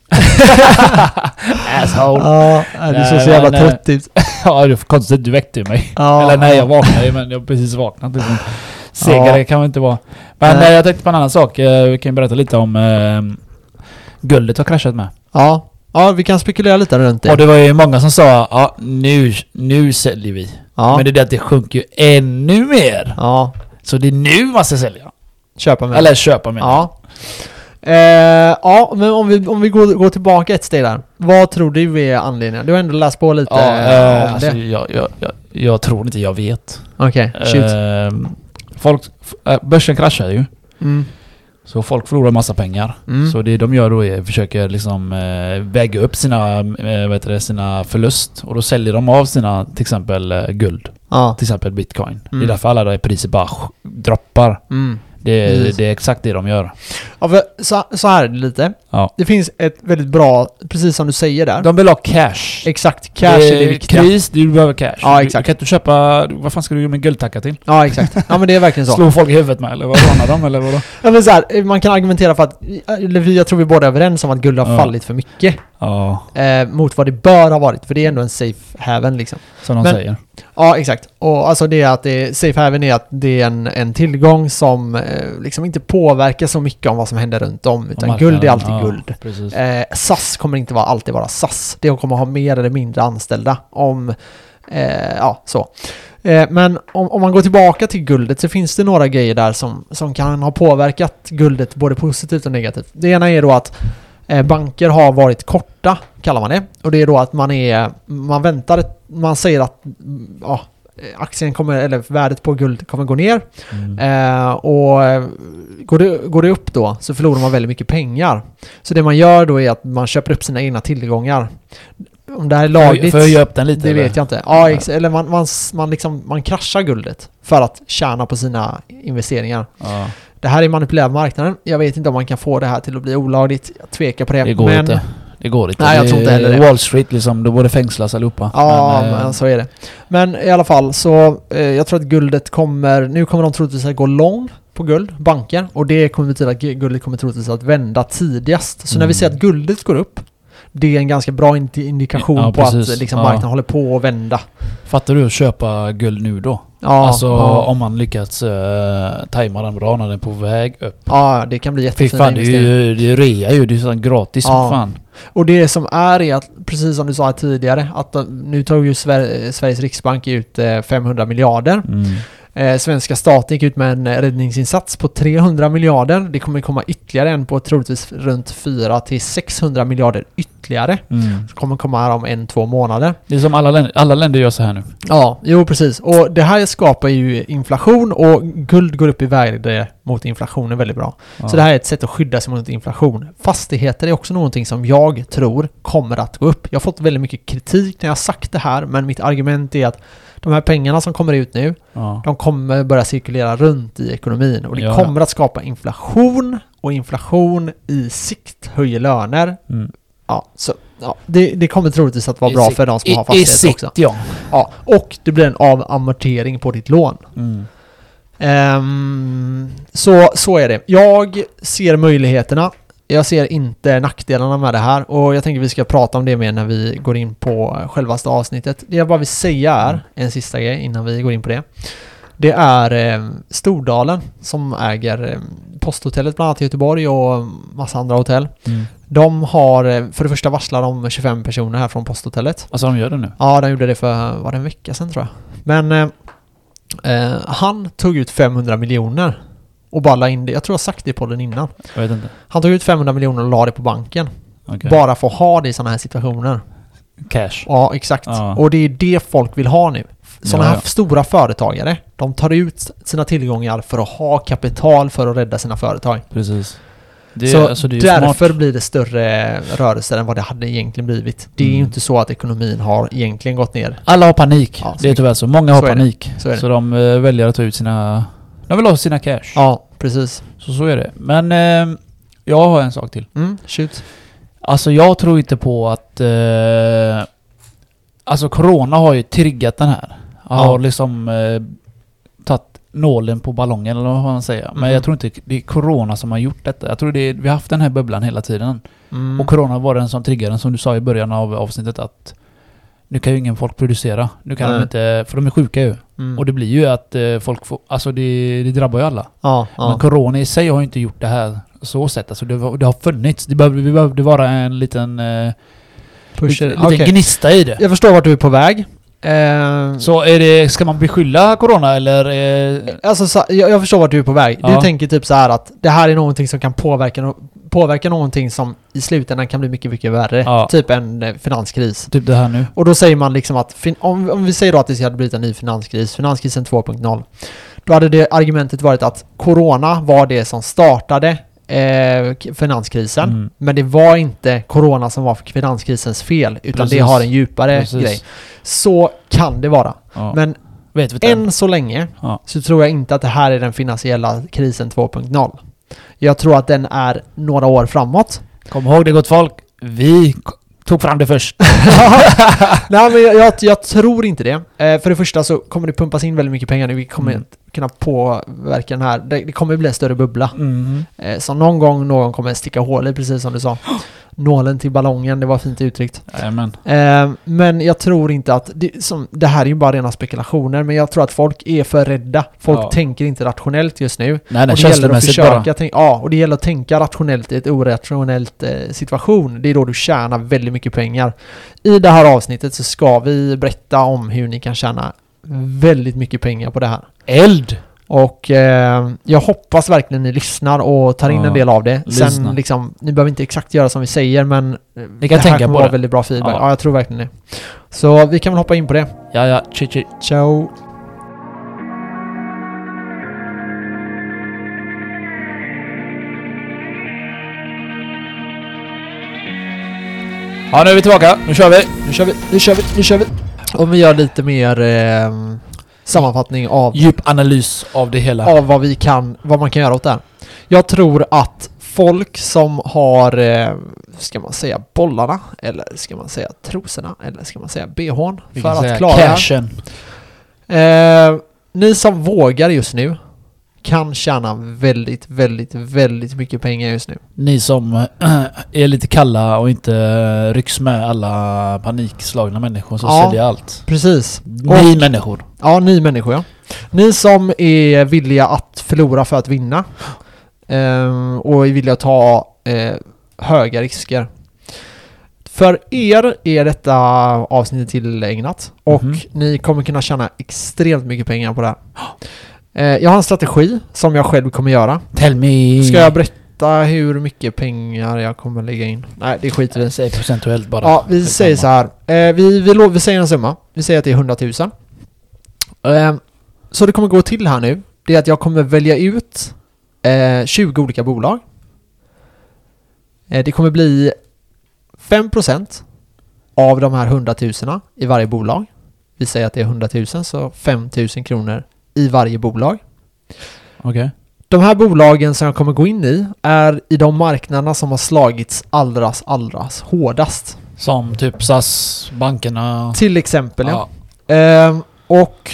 [SPEAKER 1] Asshole.
[SPEAKER 2] Ja, det
[SPEAKER 1] Nej,
[SPEAKER 2] såg så jävla
[SPEAKER 1] nej, nej.
[SPEAKER 2] trött ut.
[SPEAKER 1] Ja, det är konstigt. Du väckte ju mig.
[SPEAKER 2] Ja.
[SPEAKER 1] Eller nej, jag vaknade ju men jag har precis vaknat liksom. Segare
[SPEAKER 2] Ja.
[SPEAKER 1] kan man inte vara. Men
[SPEAKER 2] Nej.
[SPEAKER 1] eh, jag tänkte på en annan sak. Eh, Vi kan ju berätta lite om eh, guldet har kraschat med.
[SPEAKER 2] Ja. ja, vi kan spekulera lite runt det.
[SPEAKER 1] Och det var ju många som sa ja, nu, nu säljer vi.
[SPEAKER 2] ja.
[SPEAKER 1] Men det är det att det sjunker ju ännu mer.
[SPEAKER 2] ja,
[SPEAKER 1] Så det är nu man ska sälja.
[SPEAKER 2] köpa med.
[SPEAKER 1] Eller köpa menar jag.
[SPEAKER 2] Ja. Eh, ja, men om vi, om vi går, går tillbaka ett steg där. Vad tror du är anledningen? Du har ändå läst på lite
[SPEAKER 1] Ja,
[SPEAKER 2] eh,
[SPEAKER 1] eh,
[SPEAKER 2] om
[SPEAKER 1] alltså,
[SPEAKER 2] det.
[SPEAKER 1] jag, jag, jag, jag tror inte jag vet.
[SPEAKER 2] Okej, shoot.
[SPEAKER 1] Ehm, folk, f- eh, börsen kraschar ju.
[SPEAKER 2] Mm.
[SPEAKER 1] Så folk förlorar massa pengar.
[SPEAKER 2] Mm.
[SPEAKER 1] Så det de gör då är att försöka liksom, eh, väga upp sina, eh, vad heter det, sina förlust. Och då säljer de av sina till exempel eh, guld.
[SPEAKER 2] Ja.
[SPEAKER 1] Till exempel bitcoin. Det
[SPEAKER 2] Mm.
[SPEAKER 1] är därför alla där priser bara sj- droppar.
[SPEAKER 2] Mm.
[SPEAKER 1] Det,
[SPEAKER 2] Precis.
[SPEAKER 1] det är exakt det de gör.
[SPEAKER 2] ja för, så, så här är det lite.
[SPEAKER 1] Ja.
[SPEAKER 2] Det finns ett väldigt bra, precis som du säger där.
[SPEAKER 1] De vill ha cash.
[SPEAKER 2] Exakt, cash är det viktiga.
[SPEAKER 1] Kris, du behöver cash.
[SPEAKER 2] Ja,
[SPEAKER 1] Du-
[SPEAKER 2] exakt.
[SPEAKER 1] Du kan inte köpa... Vad fan ska du göra med guldtacka till?
[SPEAKER 2] Ja, exakt. Ja, men det är verkligen så.
[SPEAKER 1] Slå folk i huvudet med eller vad? Råna dem eller vadå?
[SPEAKER 2] Ja, men så här, man kan argumentera för att, eller vi, jag tror vi båda är överens om att guld har
[SPEAKER 1] Ja.
[SPEAKER 2] fallit för mycket
[SPEAKER 1] Ja,
[SPEAKER 2] eh, mot vad det bör ha varit, för det är ändå en safe haven liksom.
[SPEAKER 1] som de
[SPEAKER 2] Men-
[SPEAKER 1] säger.
[SPEAKER 2] Ja, exakt. Och alltså det är att det, safe haven är att det är en, en tillgång som eh, liksom inte påverkar så mycket om vad som händer runt om, utan
[SPEAKER 1] marknaden,
[SPEAKER 2] guld är alltid
[SPEAKER 1] ja,
[SPEAKER 2] guld.
[SPEAKER 1] Precis.
[SPEAKER 2] Eh, SAS kommer inte vara, alltid vara SAS. Det kommer ha mer eller mindre anställda om... Eh, ja, så. Eh, men om, om man går tillbaka till guldet så finns det några grejer där som, som kan ha påverkat guldet både positivt och negativt. Det ena är då att eh, banker har varit korta, kallar man det. Och det är då att man är... Man väntar... ett- Man säger att... mm, Ja, aktien kommer, eller värdet på guld kommer gå ner.
[SPEAKER 1] Mm.
[SPEAKER 2] Eh, och eh, går det, går det upp då så förlorar man väldigt mycket pengar. Så det man gör då är att man köper upp sina egna tillgångar. om det här är
[SPEAKER 1] Får
[SPEAKER 2] lagligt.
[SPEAKER 1] får jag höja upp den lite?
[SPEAKER 2] det
[SPEAKER 1] eller?
[SPEAKER 2] vet jag inte. Ja, ex- eller man, man, s- man, liksom, man kraschar guldet för att tjäna på sina investeringar.
[SPEAKER 1] Ja,
[SPEAKER 2] Det här är manipulerad marknaden. Jag vet inte om man kan få det här till att bli olagligt. Jag tvekar på det.
[SPEAKER 1] det går
[SPEAKER 2] men,
[SPEAKER 1] inte. Det går inte.
[SPEAKER 2] Nej, jag tror inte heller det.
[SPEAKER 1] Wall Street liksom, då borde fängslas allihopa.
[SPEAKER 2] Ja, men, alltså-
[SPEAKER 1] eh,
[SPEAKER 2] så är det. Men i alla fall så, eh, jag tror att guldet kommer, nu kommer de troligtvis att gå lång på guld, banker, och det kommer betyda att gu- guldet kommer troligtvis att vända tidigast. Så när vi
[SPEAKER 1] Mm.
[SPEAKER 2] ser att guldet går upp, det är en ganska bra indi- indikation
[SPEAKER 1] Ja,
[SPEAKER 2] på att
[SPEAKER 1] precis.
[SPEAKER 2] eh, liksom,
[SPEAKER 1] Ja.
[SPEAKER 2] marknaden håller på att vända.
[SPEAKER 1] Fattar du att köpa guld nu då?
[SPEAKER 2] Ja,
[SPEAKER 1] alltså
[SPEAKER 2] ja,
[SPEAKER 1] om man lyckats eh, tajma den bra när den är på väg upp.
[SPEAKER 2] ja, det kan bli
[SPEAKER 1] Fy
[SPEAKER 2] jättefina
[SPEAKER 1] fan, det är
[SPEAKER 2] investeringar.
[SPEAKER 1] ju det är rea ju. Det är sån gratis som
[SPEAKER 2] Ja.
[SPEAKER 1] fan.
[SPEAKER 2] Och det som är är att, precis som du sa här tidigare, att de- nu tog ju Sver- Sveriges Riksbank ut eh, 500 miljarder.
[SPEAKER 1] Mm.
[SPEAKER 2] Eh, svenska staten gick ut med en eh, räddningsinsats på 300 miljarder. Det kommer komma ytterligare en på troligtvis runt 4 till 600 miljarder ytterligare.
[SPEAKER 1] Mm.
[SPEAKER 2] Det kommer komma här om en, två månader.
[SPEAKER 1] Det är som alla länder, alla länder gör så här nu.
[SPEAKER 2] Ja, jo precis. Och det här skapar ju inflation och guld går upp i värde mot inflationen väldigt bra.
[SPEAKER 1] Ja.
[SPEAKER 2] Så det här är ett sätt att skydda sig mot inflation. Fastigheter är också någonting som jag tror kommer att gå upp. Jag har fått väldigt mycket kritik när jag har sagt det här, men mitt argument är att de här pengarna som kommer ut nu,
[SPEAKER 1] Ja.
[SPEAKER 2] de kommer börja cirkulera runt i ekonomin och det
[SPEAKER 1] Ja, ja.
[SPEAKER 2] kommer att skapa inflation och inflation i sikt höjer löner.
[SPEAKER 1] Mm.
[SPEAKER 2] Ja, så, ja, det, det kommer troligtvis att vara
[SPEAKER 1] I
[SPEAKER 2] bra
[SPEAKER 1] sikt-
[SPEAKER 2] för de som har
[SPEAKER 1] I, i
[SPEAKER 2] fastighet
[SPEAKER 1] sikt,
[SPEAKER 2] också.
[SPEAKER 1] ja.
[SPEAKER 2] Ja, och det blir en avamortering på ditt lån.
[SPEAKER 1] Mm.
[SPEAKER 2] Ehm, så, så är det. Jag ser möjligheterna. Jag ser inte nackdelarna med det här och jag tänker vi ska prata om det mer när vi går in på självaste avsnittet. Det jag bara vill säga är, en sista grej innan vi går in på det. Det är eh, Stordalen som äger eh, posthotellet bland annat i Göteborg och massa andra hotell.
[SPEAKER 1] Mm.
[SPEAKER 2] De har, eh, för det första varslar de 25 personer här från posthotellet.
[SPEAKER 1] Alltså de gör det nu.
[SPEAKER 2] Ja, de gjorde det för, var det en vecka sedan tror jag. Men eh, eh, han tog ut 500 miljoner och bara la in det. Jag tror jag har sagt det på den innan.
[SPEAKER 1] Jag vet inte.
[SPEAKER 2] Han tog ut 500 miljoner och la det på banken.
[SPEAKER 1] Okej.
[SPEAKER 2] Bara för att ha det i sådana här situationer.
[SPEAKER 1] Cash.
[SPEAKER 2] Ja, exakt.
[SPEAKER 1] Ja.
[SPEAKER 2] Och det är det folk vill ha nu. Sådana
[SPEAKER 1] Ja,
[SPEAKER 2] här
[SPEAKER 1] ja.
[SPEAKER 2] stora företagare, de tar ut sina tillgångar för att ha kapital för att rädda sina företag.
[SPEAKER 1] Precis. Det,
[SPEAKER 2] så
[SPEAKER 1] alltså, det är ju
[SPEAKER 2] därför
[SPEAKER 1] smart.
[SPEAKER 2] blir det större rörelser än vad det hade egentligen blivit. Det är ju
[SPEAKER 1] Mm.
[SPEAKER 2] inte så att ekonomin har egentligen gått ner.
[SPEAKER 1] Alla har panik.
[SPEAKER 2] Ja, så
[SPEAKER 1] det är
[SPEAKER 2] mycket.
[SPEAKER 1] tyvärr så. Många har
[SPEAKER 2] Så är det.
[SPEAKER 1] panik.
[SPEAKER 2] Så är det.
[SPEAKER 1] Så de eh, väljer att ta ut sina... De vill ha sina cash.
[SPEAKER 2] Ja, precis.
[SPEAKER 1] Så så är det. Men eh, jag har en sak till.
[SPEAKER 2] Mm, shoot.
[SPEAKER 1] Alltså jag tror inte på att... Eh, alltså corona har ju triggat den här.
[SPEAKER 2] Ja.
[SPEAKER 1] Har liksom eh, tagit nålen på ballongen eller vad man säger. Men
[SPEAKER 2] Mhm.
[SPEAKER 1] jag tror inte det är corona som har gjort detta. Jag tror det är, vi har haft den här bubblan hela tiden.
[SPEAKER 2] Mm.
[SPEAKER 1] Och corona var den som triggade den som du sa i början av avsnittet att nu kan ju ingen folk producera. Nu kan
[SPEAKER 2] Nej.
[SPEAKER 1] de inte, för de är sjuka ju.
[SPEAKER 2] Mm.
[SPEAKER 1] Och det blir ju att eh, folk får, alltså det, det drabbar ju alla.
[SPEAKER 2] ja,
[SPEAKER 1] Men
[SPEAKER 2] ja.
[SPEAKER 1] corona i sig har ju inte gjort det här så sett. Alltså det, var, det har funnits. Det behövde, vi behövde vara en liten, eh,
[SPEAKER 2] Push
[SPEAKER 1] liten,
[SPEAKER 2] it.
[SPEAKER 1] liten
[SPEAKER 2] Okej.
[SPEAKER 1] gnista i det.
[SPEAKER 2] Jag förstår vart du är på väg. Eh,
[SPEAKER 1] Så är det, ska man beskylla corona eller? Eh,
[SPEAKER 2] alltså, så, jag, jag förstår vart du är på väg. Du
[SPEAKER 1] Ja.
[SPEAKER 2] tänker typ så här att det här är någonting som kan påverka, no- påverka någonting som i slutändan kan bli mycket, mycket värre.
[SPEAKER 1] Ja.
[SPEAKER 2] Typ en eh, finanskris.
[SPEAKER 1] typ det här nu.
[SPEAKER 2] Och då säger man liksom att, fin- om, om vi säger då att det hade blivit en ny finanskris, finanskrisen 2.0. Då hade det argumentet varit att corona var det som startade eh, k- finanskrisen.
[SPEAKER 1] Mm,
[SPEAKER 2] Men det var inte corona som var finanskrisens fel, utan
[SPEAKER 1] Precis.
[SPEAKER 2] det har en djupare
[SPEAKER 1] precis.
[SPEAKER 2] grej. Så kan det vara.
[SPEAKER 1] Ja.
[SPEAKER 2] Men
[SPEAKER 1] vet vi inte än.
[SPEAKER 2] än så länge
[SPEAKER 1] Ja.
[SPEAKER 2] så tror jag inte att det här är den finansiella krisen 2.0. Jag tror att den är några år framåt.
[SPEAKER 1] Kom ihåg det gott folk. Vi k- tog fram det först.
[SPEAKER 2] Nej, men jag, jag, jag tror inte det. Eh, för det första så kommer det pumpas in väldigt mycket pengar nu. Vi kommer
[SPEAKER 1] Mm.
[SPEAKER 2] kunna påverka den här. Det, det kommer bli en större bubbla.
[SPEAKER 1] Mm.
[SPEAKER 2] Eh, så någon gång någon kommer sticka hål i, precis som du sa. Nålen till ballongen, det var fint uttryckt.
[SPEAKER 1] Jajamän.
[SPEAKER 2] Eh, men jag tror inte att, det, som, det här är ju bara rena spekulationer, men jag tror att folk är för rädda. Folk
[SPEAKER 1] Ja.
[SPEAKER 2] tänker inte rationellt just nu.
[SPEAKER 1] Nej, nej,
[SPEAKER 2] och det gäller att
[SPEAKER 1] känslomässigt bara.
[SPEAKER 2] försöka tänka, ja, och det gäller att tänka rationellt i ett orationellt eh, situation. Det är då du tjänar väldigt mycket pengar. I det här avsnittet så ska vi berätta om hur ni kan tjäna väldigt mycket pengar på det här.
[SPEAKER 1] Eld!
[SPEAKER 2] Och eh, jag hoppas verkligen ni lyssnar och tar in
[SPEAKER 1] Ja,
[SPEAKER 2] en del av det.
[SPEAKER 1] lyssna.
[SPEAKER 2] Sen liksom, ni behöver inte exakt göra som vi säger men eh,
[SPEAKER 1] Ni kan
[SPEAKER 2] det här
[SPEAKER 1] tänka
[SPEAKER 2] kommer
[SPEAKER 1] på
[SPEAKER 2] vara
[SPEAKER 1] det.
[SPEAKER 2] väldigt bra feedback.
[SPEAKER 1] Ja.
[SPEAKER 2] Ja. jag tror verkligen det. Så vi kan väl hoppa in på det.
[SPEAKER 1] Ja, ja. Chit, chit.
[SPEAKER 2] Ciao!
[SPEAKER 1] Ja, nu är vi tillbaka. Nu kör vi.
[SPEAKER 2] Nu kör vi, nu kör vi, nu kör vi. Om vi gör lite mer ehm, sammanfattning av,
[SPEAKER 1] Djup analys av det hela.
[SPEAKER 2] av vad vi kan, vad man kan göra åt det här. Jag tror att folk som har, eh, ska man säga bollarna? Eller ska man säga trosorna? Eller ska man säga bhn?
[SPEAKER 1] Vi
[SPEAKER 2] För
[SPEAKER 1] kan säga
[SPEAKER 2] att klara det här.
[SPEAKER 1] Cashen.
[SPEAKER 2] Eh, ni som vågar just nu kan tjäna väldigt, väldigt, väldigt mycket pengar just nu.
[SPEAKER 1] Ni som eh, är lite kalla och inte eh, rycks med alla panikslagna människor som
[SPEAKER 2] Ja.
[SPEAKER 1] säljer allt.
[SPEAKER 2] Precis.
[SPEAKER 1] Ni människor.
[SPEAKER 2] Ja, ni människor ja. Ni som är villiga att förlora för att vinna eh, och är villiga att ta eh, höga risker. För er är detta avsnitt tillägnat och
[SPEAKER 1] Mhm.
[SPEAKER 2] ni kommer kunna tjäna extremt mycket pengar på det här. Eh, jag har en strategi som jag själv kommer göra.
[SPEAKER 1] Tell me.
[SPEAKER 2] Ska jag berätta hur mycket pengar jag kommer lägga in? Nej, det skiter vi i.
[SPEAKER 1] Säg procentuellt bara.
[SPEAKER 2] Ja, vi
[SPEAKER 1] Skitsamma.
[SPEAKER 2] säger så här. Eh, vi, vi, lo- vi säger en summa. Vi säger att det är 100 000. Eh, så det kommer gå till här nu. Det är att jag kommer välja ut eh, 20 olika bolag. Eh, det kommer bli 5% av de här 100 000 i varje bolag. Vi säger att det är 100 000, så 5 000 kronor i varje bolag.
[SPEAKER 1] Okej.
[SPEAKER 2] De här bolagen som jag kommer gå in i är i de marknaderna som har slagits allras, allras hårdast.
[SPEAKER 1] Som typ SAS, bankerna.
[SPEAKER 2] Till exempel, ja.
[SPEAKER 1] Ja.
[SPEAKER 2] Ehm, och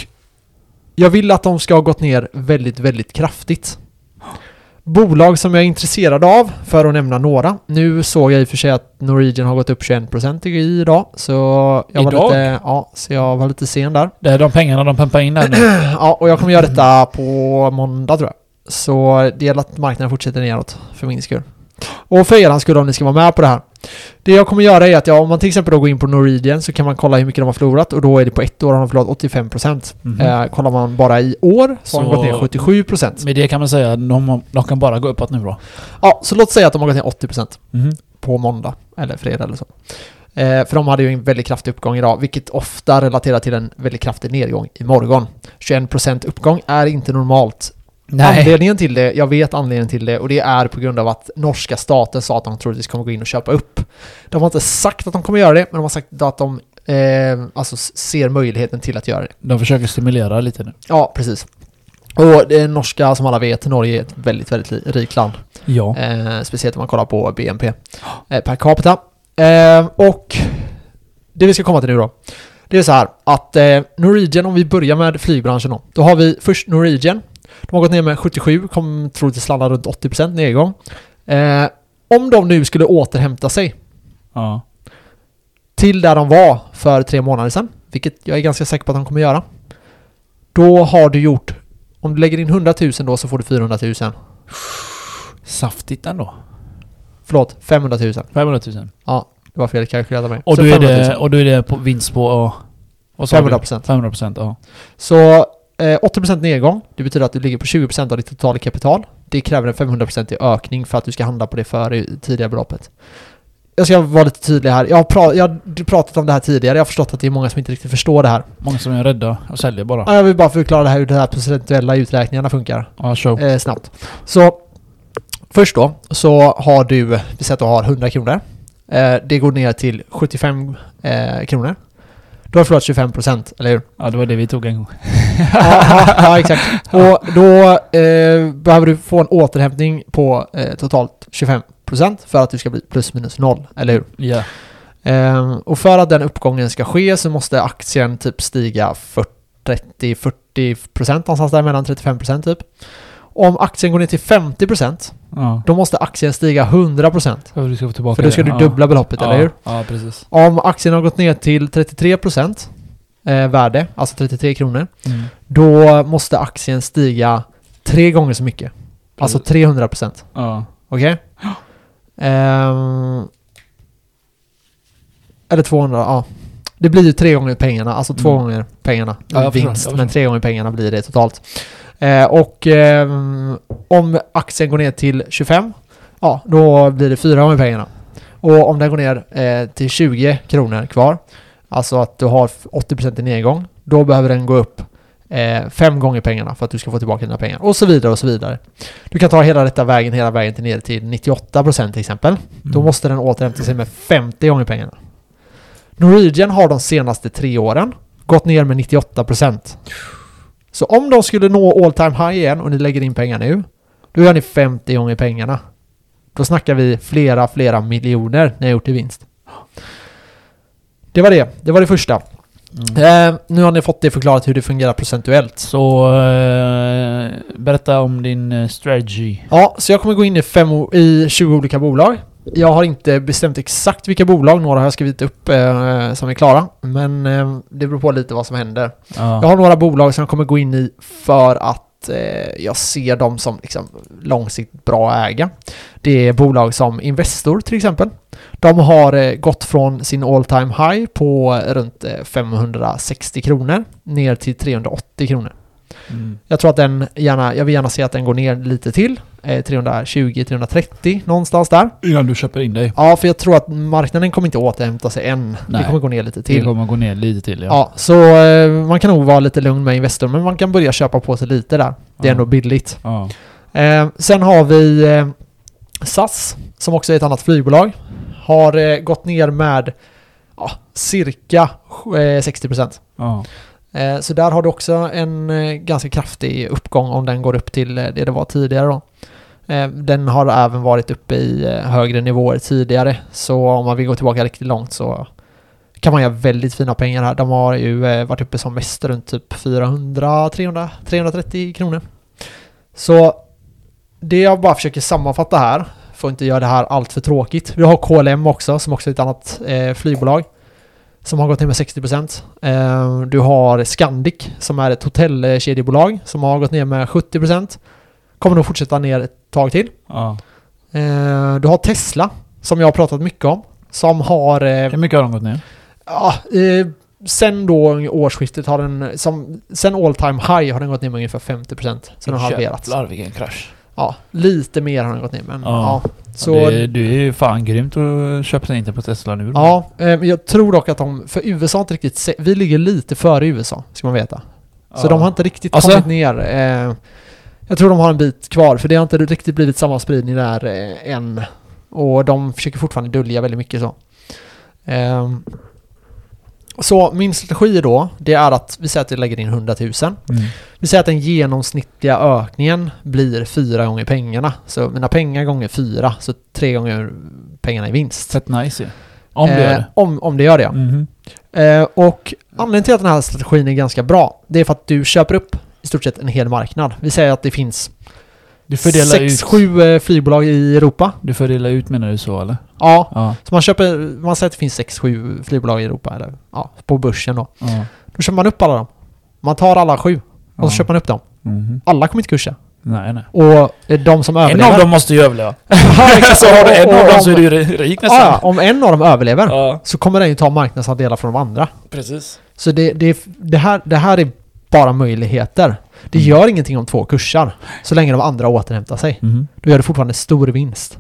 [SPEAKER 2] jag vill att de ska ha gått ner väldigt, väldigt kraftigt. Bolag som jag är intresserad av, för att nämna några. Nu såg jag i och för sig att Norwegian har gått upp 21% i- idag, så jag, var
[SPEAKER 1] Idag?
[SPEAKER 2] lite, ja, så jag var lite sen där.
[SPEAKER 1] Det är de pengarna de pumpar in där nu.
[SPEAKER 2] Ja, och jag kommer göra detta på måndag tror jag. Så det gäller att marknaden fortsätter neråt för min skull. Och för er skull om ni ska vara med på det här. Det jag kommer göra är att ja, om man till exempel då går in på Norwegian så kan man kolla hur mycket de har förlorat och då är det på ett år har de förlorat 85%.
[SPEAKER 1] Mhm.
[SPEAKER 2] Eh, kollar man bara i år så har de
[SPEAKER 1] Så- Mm.
[SPEAKER 2] gått ner 77%.
[SPEAKER 1] Med det kan man säga att de, de kan bara gå uppåt nu då.
[SPEAKER 2] Ja, så låt säga att de har gått ner 80%
[SPEAKER 1] Mhm.
[SPEAKER 2] på måndag eller fredag eller så. Eh, för de hade ju en väldigt kraftig uppgång idag, vilket ofta relaterar till en väldigt kraftig nedgång imorgon. 21% uppgång är inte normalt
[SPEAKER 1] Nej.
[SPEAKER 2] Anledningen till det, jag vet anledningen till det och det är på grund av att norska staten sa att de troligtvis kommer gå in och köpa upp. De har inte sagt att de kommer göra det, men de har sagt att de eh, alltså s- ser möjligheten till att göra det.
[SPEAKER 1] De försöker stimulera lite nu.
[SPEAKER 2] Ja, precis. Och det är norska, som alla vet, Norge är ett väldigt, väldigt li- rikt land.
[SPEAKER 1] Ja.
[SPEAKER 2] Eh, speciellt om man kollar på BNP eh, per capita. Eh, och det vi ska komma till nu då. Det är så här att eh, Norwegian, om vi börjar med flygbranschen då. Då har vi först Norwegian. De har gått ner med 77, kommer troligtvis landa runt 80% nedgång. Eh, om de nu skulle återhämta sig
[SPEAKER 1] ja.
[SPEAKER 2] till där de var för tre månader sedan, vilket jag är ganska säker på att de kommer göra. Då har du gjort, om du lägger in 100 000 då så får du 400 000.
[SPEAKER 1] Saftigt ändå.
[SPEAKER 2] Förlåt, 500 000.
[SPEAKER 1] 500 000.
[SPEAKER 2] Det var fel kalkylerat av mig.
[SPEAKER 1] Och
[SPEAKER 2] Så
[SPEAKER 1] då är
[SPEAKER 2] 500 000.
[SPEAKER 1] det, och då är det på vinst på... Och, vad sa du?
[SPEAKER 2] 500%.
[SPEAKER 1] 500% ja.
[SPEAKER 2] Så eh, 80% nedgång, det betyder att du ligger på 20% av ditt totala kapital. Det kräver en 500% i ökning för att du ska handla på det före i- tidiga beloppet. Jag ska vara lite tydlig här. Jag har, pra- jag har pratat om det här tidigare, jag har förstått att det är många som inte riktigt förstår det här.
[SPEAKER 1] Många som är rädda och säljer bara.
[SPEAKER 2] Jag vill bara förklara det här hur de här procentuella uträkningarna funkar
[SPEAKER 1] Ja, show.
[SPEAKER 2] eh, snabbt. Så först då så har du, vi säger att du har 100 kronor. Eh, det går ner till 75 eh, kronor. Du har förlorat 25%, eller hur?
[SPEAKER 1] Ja, det var det vi tog en gång.
[SPEAKER 2] ja, ja, exakt. Och då eh, behöver du få en återhämtning på eh, totalt 25% för att du ska bli plus minus noll, eller hur?
[SPEAKER 1] Ja.
[SPEAKER 2] Ehm, och för att den uppgången ska ske så måste aktien typ stiga 30-40% någonstans där mellan 35% typ. Om aktien går ner till 50%
[SPEAKER 1] ja.
[SPEAKER 2] då måste aktien stiga 100%
[SPEAKER 1] För du ska få tillbaka
[SPEAKER 2] för då ska
[SPEAKER 1] det.
[SPEAKER 2] du dubbla beloppet,
[SPEAKER 1] ja.
[SPEAKER 2] eller hur?
[SPEAKER 1] Ja, ja, precis.
[SPEAKER 2] Om aktien har gått ner till 33% eh, värde, alltså 33 kronor,
[SPEAKER 1] Mm.
[SPEAKER 2] då måste aktien stiga tre gånger så mycket. Alltså 300 procent.
[SPEAKER 1] Ja.
[SPEAKER 2] Okej? Ehm, eller 200, ja. Det blir ju tre gånger pengarna, alltså två
[SPEAKER 1] Mm.
[SPEAKER 2] gånger pengarna.
[SPEAKER 1] Ja, jag förstår,
[SPEAKER 2] vinst,
[SPEAKER 1] jag förstår.
[SPEAKER 2] men tre gånger pengarna blir det totalt. Eh, och ehm, om aktien går ner till 25, ja, då blir det fyra gånger pengarna. Och om den går ner eh, till 20 kronor kvar, alltså att du har 80% i nedgång, då behöver den gå upp eh, fem gånger pengarna för att du ska få tillbaka dina pengar och så vidare och så vidare. Du kan ta hela detta vägen, hela vägen till ner till 98% till exempel.
[SPEAKER 1] Mm.
[SPEAKER 2] Då måste den återhämta sig med 50 gånger pengarna. Norwegian har de senaste tre åren gått ner med 98%. Så om de skulle nå all time high igen och ni lägger in pengar nu, då gör ni 50 gånger pengarna. Då snackar vi flera, flera miljoner ni har gjort i vinst. Det var det. Det var det första.
[SPEAKER 1] Mm.
[SPEAKER 2] Eh, nu har ni fått det förklarat hur det fungerar procentuellt.
[SPEAKER 1] Så eh, berätta om din eh, strategy.
[SPEAKER 2] Ja, så jag kommer gå in i, fem, o- i 20 olika bolag. Jag har inte bestämt exakt vilka bolag, några har jag skrivit upp eh, som är klara. Men eh, det beror på lite vad som händer. Jag
[SPEAKER 1] Ja.
[SPEAKER 2] har några bolag som jag kommer gå in i för att eh, jag ser dem som liksom, långsiktigt bra att äga. Det är bolag som Investor till exempel. De har eh, gått från sin all time high på eh, runt eh, 560 kronor ner till 380 kronor.
[SPEAKER 1] Mm.
[SPEAKER 2] Jag tror att den gärna, jag vill gärna se att den går ner lite till. eh, 320-330 någonstans där.
[SPEAKER 1] Innan du köper in dig.
[SPEAKER 2] Ja, för jag tror att marknaden kommer inte återhämta sig än.
[SPEAKER 1] Nej.
[SPEAKER 2] Det kommer gå ner lite
[SPEAKER 1] Det
[SPEAKER 2] till.
[SPEAKER 1] kommer gå ner lite till ja.
[SPEAKER 2] Ja, så eh, man kan nog vara lite lugn med Investor, men man kan börja köpa på sig lite där. Det är
[SPEAKER 1] Ja.
[SPEAKER 2] ändå billigt.
[SPEAKER 1] Ja.
[SPEAKER 2] Eh, sen har vi eh, SAS, som också är ett annat flygbolag. Har eh, gått ner med ja, cirka eh, 60%.
[SPEAKER 1] Ja.
[SPEAKER 2] Eh, så där har du också en eh, ganska kraftig uppgång om den går upp till eh, det det var tidigare då. Eh, den har även varit uppe i eh, högre nivåer tidigare. Så om man vill gå tillbaka riktigt långt så kan man göra väldigt fina pengar här. De har ju eh, varit uppe som mest runt typ 400, 300, 330 kronor. Så det jag bara försöker sammanfatta här, får inte göra det här allt för tråkigt. Vi har KLM också, som också är ett annat eh, flygbolag. Som har gått ner med 60%. Eh, du har Scandic, som är ett hotellkedjebolag, som har gått ner med 70%. Kommer nog fortsätta ner ett tag till.
[SPEAKER 1] Ja.
[SPEAKER 2] Eh, du har Tesla, som jag har pratat mycket om. Som har... eh,
[SPEAKER 1] Hur mycket har de gått ner?
[SPEAKER 2] Ja, eh, sen då årsskiftet har den, som, sen all time high har den gått ner med ungefär 50%. Så den har halverats.
[SPEAKER 1] Jävlar vilken krasch.
[SPEAKER 2] Ja, lite mer har den gått ner men
[SPEAKER 1] Ja.
[SPEAKER 2] ja.
[SPEAKER 1] Så
[SPEAKER 2] Så,
[SPEAKER 1] det, du är ju fan grymt att köpa sig in dig på Tesla nu. då.
[SPEAKER 2] ja, eh, men jag tror dock att de, för USA har inte riktigt, se- vi ligger lite före USA, ska man veta. Så
[SPEAKER 1] Ja.
[SPEAKER 2] de har inte riktigt
[SPEAKER 1] Alltså?
[SPEAKER 2] kommit ner. Eh, jag tror de har en bit kvar, för det har inte riktigt blivit samma spridning där eh, än. Och de försöker fortfarande dölja väldigt mycket så. Ehm, så min strategi då, det är att vi säger att vi lägger in 100 000.
[SPEAKER 1] Mm.
[SPEAKER 2] Vi säger att den genomsnittliga ökningen blir fyra gånger pengarna. Så mina pengar gånger fyra, så tre gånger pengarna i vinst.
[SPEAKER 1] Fett nice ju. Om du gör
[SPEAKER 2] Eh,
[SPEAKER 1] det.
[SPEAKER 2] om, om det gör det, ja.
[SPEAKER 1] Mhm.
[SPEAKER 2] Eh, och anledningen till att den här strategin är ganska bra, det är för att du köper upp i stort sett en hel marknad. Vi säger att det finns
[SPEAKER 1] Du fördelar ut.
[SPEAKER 2] 6-7 flygbolag i Europa.
[SPEAKER 1] Du fördelar ut menar du så eller?
[SPEAKER 2] Ja,
[SPEAKER 1] Ja.
[SPEAKER 2] så man köper, man säger att det finns 6-7 flygbolag i Europa, eller ja, på börsen då.
[SPEAKER 1] ja.
[SPEAKER 2] Då köper man upp alla dem. Man tar alla sju och
[SPEAKER 1] Ja.
[SPEAKER 2] så köper man upp dem.
[SPEAKER 1] Mhm.
[SPEAKER 2] Alla kommer inte kursa.
[SPEAKER 1] Nej nej.
[SPEAKER 2] Och eh, de som
[SPEAKER 1] En
[SPEAKER 2] överlever...
[SPEAKER 1] av dem måste ju överleva.
[SPEAKER 2] Ja, exakt.
[SPEAKER 1] alltså har du en
[SPEAKER 2] Och-
[SPEAKER 1] av
[SPEAKER 2] och
[SPEAKER 1] dem
[SPEAKER 2] om-
[SPEAKER 1] så är du ju ri- rik nästan.
[SPEAKER 2] Ja, ja, om en av dem överlever
[SPEAKER 1] Ja,
[SPEAKER 2] så kommer den ju ta marknadsandelar från de andra.
[SPEAKER 1] precis.
[SPEAKER 2] Så det, det, det, här, det här är bara möjligheter. Det
[SPEAKER 1] Mm.
[SPEAKER 2] gör ingenting om två kurser. Så länge de andra återhämtar sig.
[SPEAKER 1] Mhm.
[SPEAKER 2] Då gör du fortfarande stor vinst.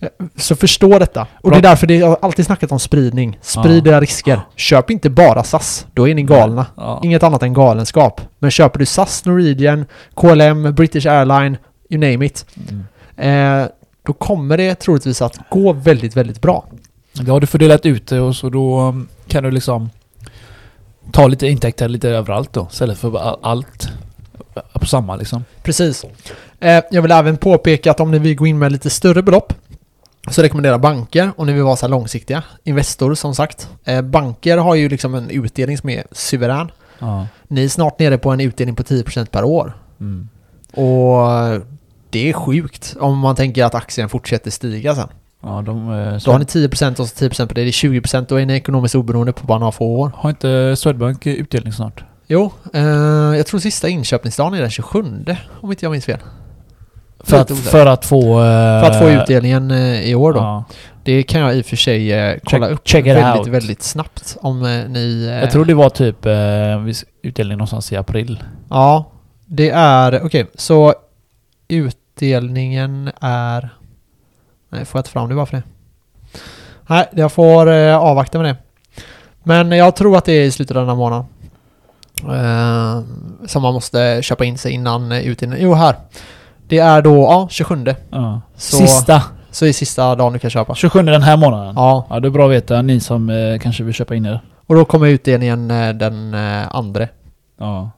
[SPEAKER 2] Eh, Så förstå detta. Och det är
[SPEAKER 1] Bra.
[SPEAKER 2] därför det, jag har alltid snackat om spridning. Sprid era risker. Köp inte bara SAS. Då är ni galna.
[SPEAKER 1] Ja.
[SPEAKER 2] Inget annat än galenskap. Men köper du SAS, Norwegian, KLM, British Airline, you name it.
[SPEAKER 1] Mm.
[SPEAKER 2] Eh, då kommer det troligtvis att gå väldigt, väldigt bra.
[SPEAKER 1] Då har du fördelat ut det och så då um, kan du liksom ta lite intäkter lite överallt då. Istället för bara all- allt på samma liksom.
[SPEAKER 2] Precis. Eh, jag vill även påpeka att om ni vill gå in med lite större belopp så rekommenderar banker om ni vill vara så här långsiktiga. Investor som sagt. Eh, banker har ju liksom en utdelning som är suverän.
[SPEAKER 1] Ja.
[SPEAKER 2] Ni är snart nere på en utdelning på 10% per år.
[SPEAKER 1] Mm.
[SPEAKER 2] Och det är sjukt om man tänker att aktien fortsätter stiga sen.
[SPEAKER 1] Ja, de... eh,
[SPEAKER 2] Då har ni 10% och så 10% på det, det är 20%. Då är ni ekonomiskt oberoende på bara några få år.
[SPEAKER 1] Har inte Swedbank utdelning snart?
[SPEAKER 2] Jo, eh, jag tror sista inköpningsdagen är den 27 om inte jag minns fel.
[SPEAKER 1] För
[SPEAKER 2] Lite
[SPEAKER 1] att,
[SPEAKER 2] osäker.
[SPEAKER 1] för att få...
[SPEAKER 2] För att få utdelningen eh, i år då.
[SPEAKER 1] Ja.
[SPEAKER 2] Det kan jag i och för sig eh, kolla upp
[SPEAKER 1] check it
[SPEAKER 2] väldigt,
[SPEAKER 1] out.
[SPEAKER 2] väldigt snabbt om eh, ni... eh,
[SPEAKER 1] Jag tror det var typ eh, viss utdelning någonstans i april.
[SPEAKER 2] Ja, det är... Okej, så utdelningen är... Nej, får jag inte fram det bara för det? Nej, jag får eh, avvakta med det. Men jag tror att det är i slutet av den här månaden. Eh, som man måste köpa in sig innan eh, ut innan. Jo, här. Det är då, ja, 27.
[SPEAKER 1] Ja.
[SPEAKER 2] Så-
[SPEAKER 1] Sista.
[SPEAKER 2] Så är sista dagen du kan köpa.
[SPEAKER 1] 27 den här månaden. Ja.
[SPEAKER 2] Ja,
[SPEAKER 1] det är bra att veta, ni som eh, kanske vill köpa in er.
[SPEAKER 2] och då kommer utdelningen eh, den eh, andra.
[SPEAKER 1] Ja.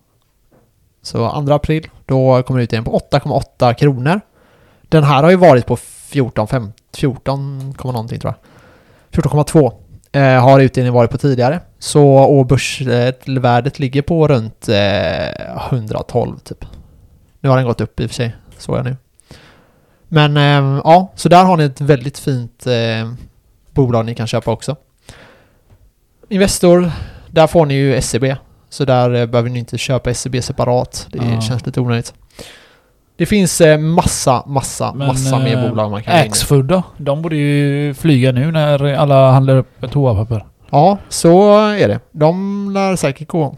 [SPEAKER 2] Så 2 april, då kommer utdelningen på 8,8 kronor. Den här har ju varit på 14, 5, 14, komma någonting tror jag. 14,2 eh, har utdelningen varit på tidigare. Så, och börsvärdet ligger på runt eh, 112 typ. Nu har den gått upp i och för sig, såg jag nu. Men eh, ja, så där har ni ett väldigt fint eh, bolag ni kan köpa också. Investor, där får ni ju SEB. Så där eh, behöver ni inte köpa SEB separat. Det
[SPEAKER 1] Ja.
[SPEAKER 2] känns lite onödigt. Det finns eh, massa, massa,
[SPEAKER 1] Men,
[SPEAKER 2] massa
[SPEAKER 1] eh,
[SPEAKER 2] mer bolag man kan gå in i.
[SPEAKER 1] Axfood då? De borde ju flyga nu när alla handlar upp toapapper.
[SPEAKER 2] Ja, så är det. De lär säkert gå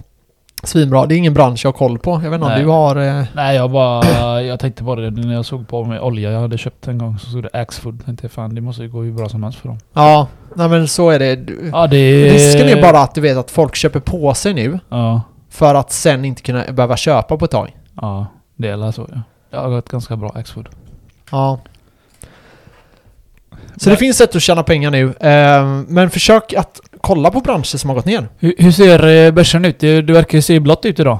[SPEAKER 2] svinbra. Det är ingen bransch jag har koll på. Jag vet inte om
[SPEAKER 1] Nej.
[SPEAKER 2] du har... eh,
[SPEAKER 1] Nej, jag bara... Jag tänkte bara det när jag såg på med olja jag hade köpt en gång så stod det Axfood. Jag tänkte fan, det måste ju gå hur bra som helst för dem.
[SPEAKER 2] Ja, nej men så är det. Du-
[SPEAKER 1] Ja, det...
[SPEAKER 2] Risken är bara att du vet att folk köper på sig nu
[SPEAKER 1] Ja.
[SPEAKER 2] för att sen inte kunna behöva köpa på ett tag.
[SPEAKER 1] Ja, det är så ja. Det har gått ganska bra Axfood.
[SPEAKER 2] Ja. Så
[SPEAKER 1] Men-
[SPEAKER 2] det finns sätt att tjäna pengar nu. eh, Men försök att kolla på branscher som har gått ner.
[SPEAKER 1] Hur, hur ser eh, börsen ut? Det, det verkar ju se blått ut idag.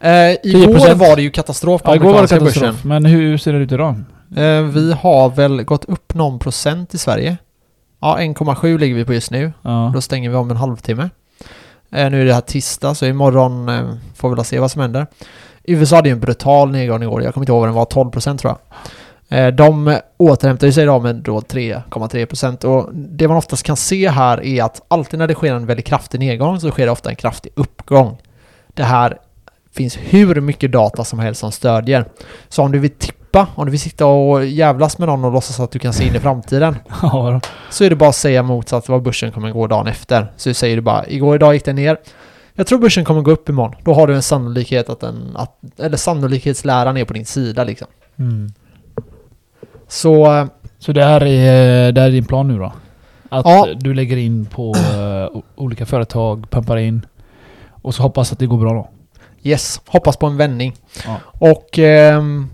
[SPEAKER 2] Eh, Igår
[SPEAKER 1] 10%.
[SPEAKER 2] var det ju katastrof på
[SPEAKER 1] Ja, igår var det
[SPEAKER 2] amerikanska
[SPEAKER 1] katastrof. Men hur ser det ut idag?
[SPEAKER 2] börsen. Eh, Vi har väl gått upp någon procent i Sverige. Ja, 1,7 ligger vi på just nu.
[SPEAKER 1] Ja.
[SPEAKER 2] Då stänger vi om en halvtimme. Eh, nu är det här tisdag, så imorgon eh, får vi väl se vad som händer. USA hade ju en brutal nedgång igår. Jag kommer inte ihåg vad den var, 12% tror jag. Eh, de eh, återhämtade sig idag med då 3,3% och det man oftast kan se här är att alltid när det sker en väldigt kraftig nedgång så sker det ofta en kraftig uppgång. Det här finns hur mycket data som helst som stödjer. Så om du vill tippa, om du vill sitta och jävlas med någon och låtsas att du kan se in i framtiden
[SPEAKER 1] ja då.
[SPEAKER 2] så är det bara att säga motsatt vad börsen kommer gå dagen efter. Så säger du bara igår idag gick den ner. Jag tror börsen kommer gå upp imorgon. Då har du en sannolikhet att den, att, eller sannolikhetsläran är på din sida liksom.
[SPEAKER 1] Mm.
[SPEAKER 2] Så eh,
[SPEAKER 1] Så det här, är, eh, det här är din plan nu då? Att
[SPEAKER 2] Ja.
[SPEAKER 1] du lägger in på eh, o- olika företag, pumpar in och så hoppas att det går bra då?
[SPEAKER 2] yes, hoppas på en vändning.
[SPEAKER 1] Ja.
[SPEAKER 2] Och ehm,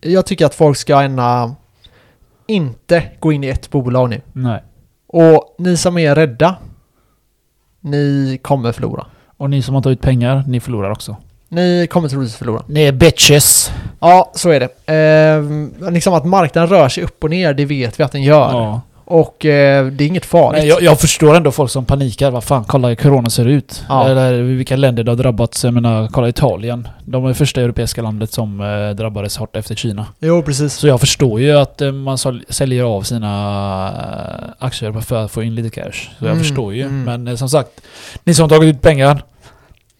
[SPEAKER 2] jag tycker att folk ska ändå inte gå in i ett bolag nu.
[SPEAKER 1] Nej.
[SPEAKER 2] Och ni som är rädda, ni kommer förlora.
[SPEAKER 1] Och ni som har tagit pengar, ni förlorar också.
[SPEAKER 2] Ni kommer troligtvis förlora.
[SPEAKER 1] Ni är bitches!
[SPEAKER 2] Ja, så är det. Eh, liksom att marknaden rör sig upp och ner, det vet vi att den gör.
[SPEAKER 1] Ja.
[SPEAKER 2] Och eh, det är inget farligt.
[SPEAKER 1] Nej, jag, jag förstår ändå folk som panikar. Vad fan, kolla hur corona ser ut.
[SPEAKER 2] Ja.
[SPEAKER 1] Eller vilka länder det har drabbats. Jag menar, kolla Italien. De var det första europeiska landet som eh, drabbades hårt efter Kina.
[SPEAKER 2] Jo, precis.
[SPEAKER 1] Så jag förstår ju att eh, man sål- säljer av sina eh, aktier bara för att få in lite cash. Så jag
[SPEAKER 2] Mm,
[SPEAKER 1] förstår ju.
[SPEAKER 2] mm.
[SPEAKER 1] Men eh, som sagt, ni som tagit ut pengar,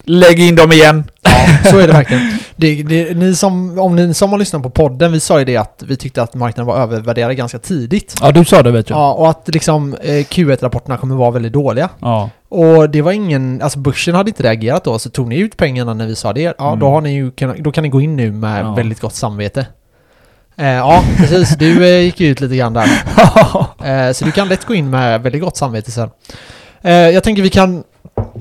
[SPEAKER 1] lägg in dem igen.
[SPEAKER 2] Ja, så är det verkligen. Det, det, ni som, om ni som har lyssnat på podden, vi sa ju det att vi tyckte att marknaden var övervärderad ganska tidigt.
[SPEAKER 1] Ja, du sa det vet jag. Ja.
[SPEAKER 2] Ja, och att liksom eh, Q1-rapporterna kommer vara väldigt dåliga. Och det var ingen, alltså börsen hade inte reagerat då, så tog ni ut pengarna när vi sa det, ja
[SPEAKER 1] Mm.
[SPEAKER 2] då har ni ju, kunnat- då kan ni gå in nu med
[SPEAKER 1] Ja.
[SPEAKER 2] väldigt gott samvete. Eh, ja, precis. Du eh, gick ju ut lite grann där. Eh, så du kan lätt gå in med väldigt gott samvete sen. Eh, jag tänker vi kan...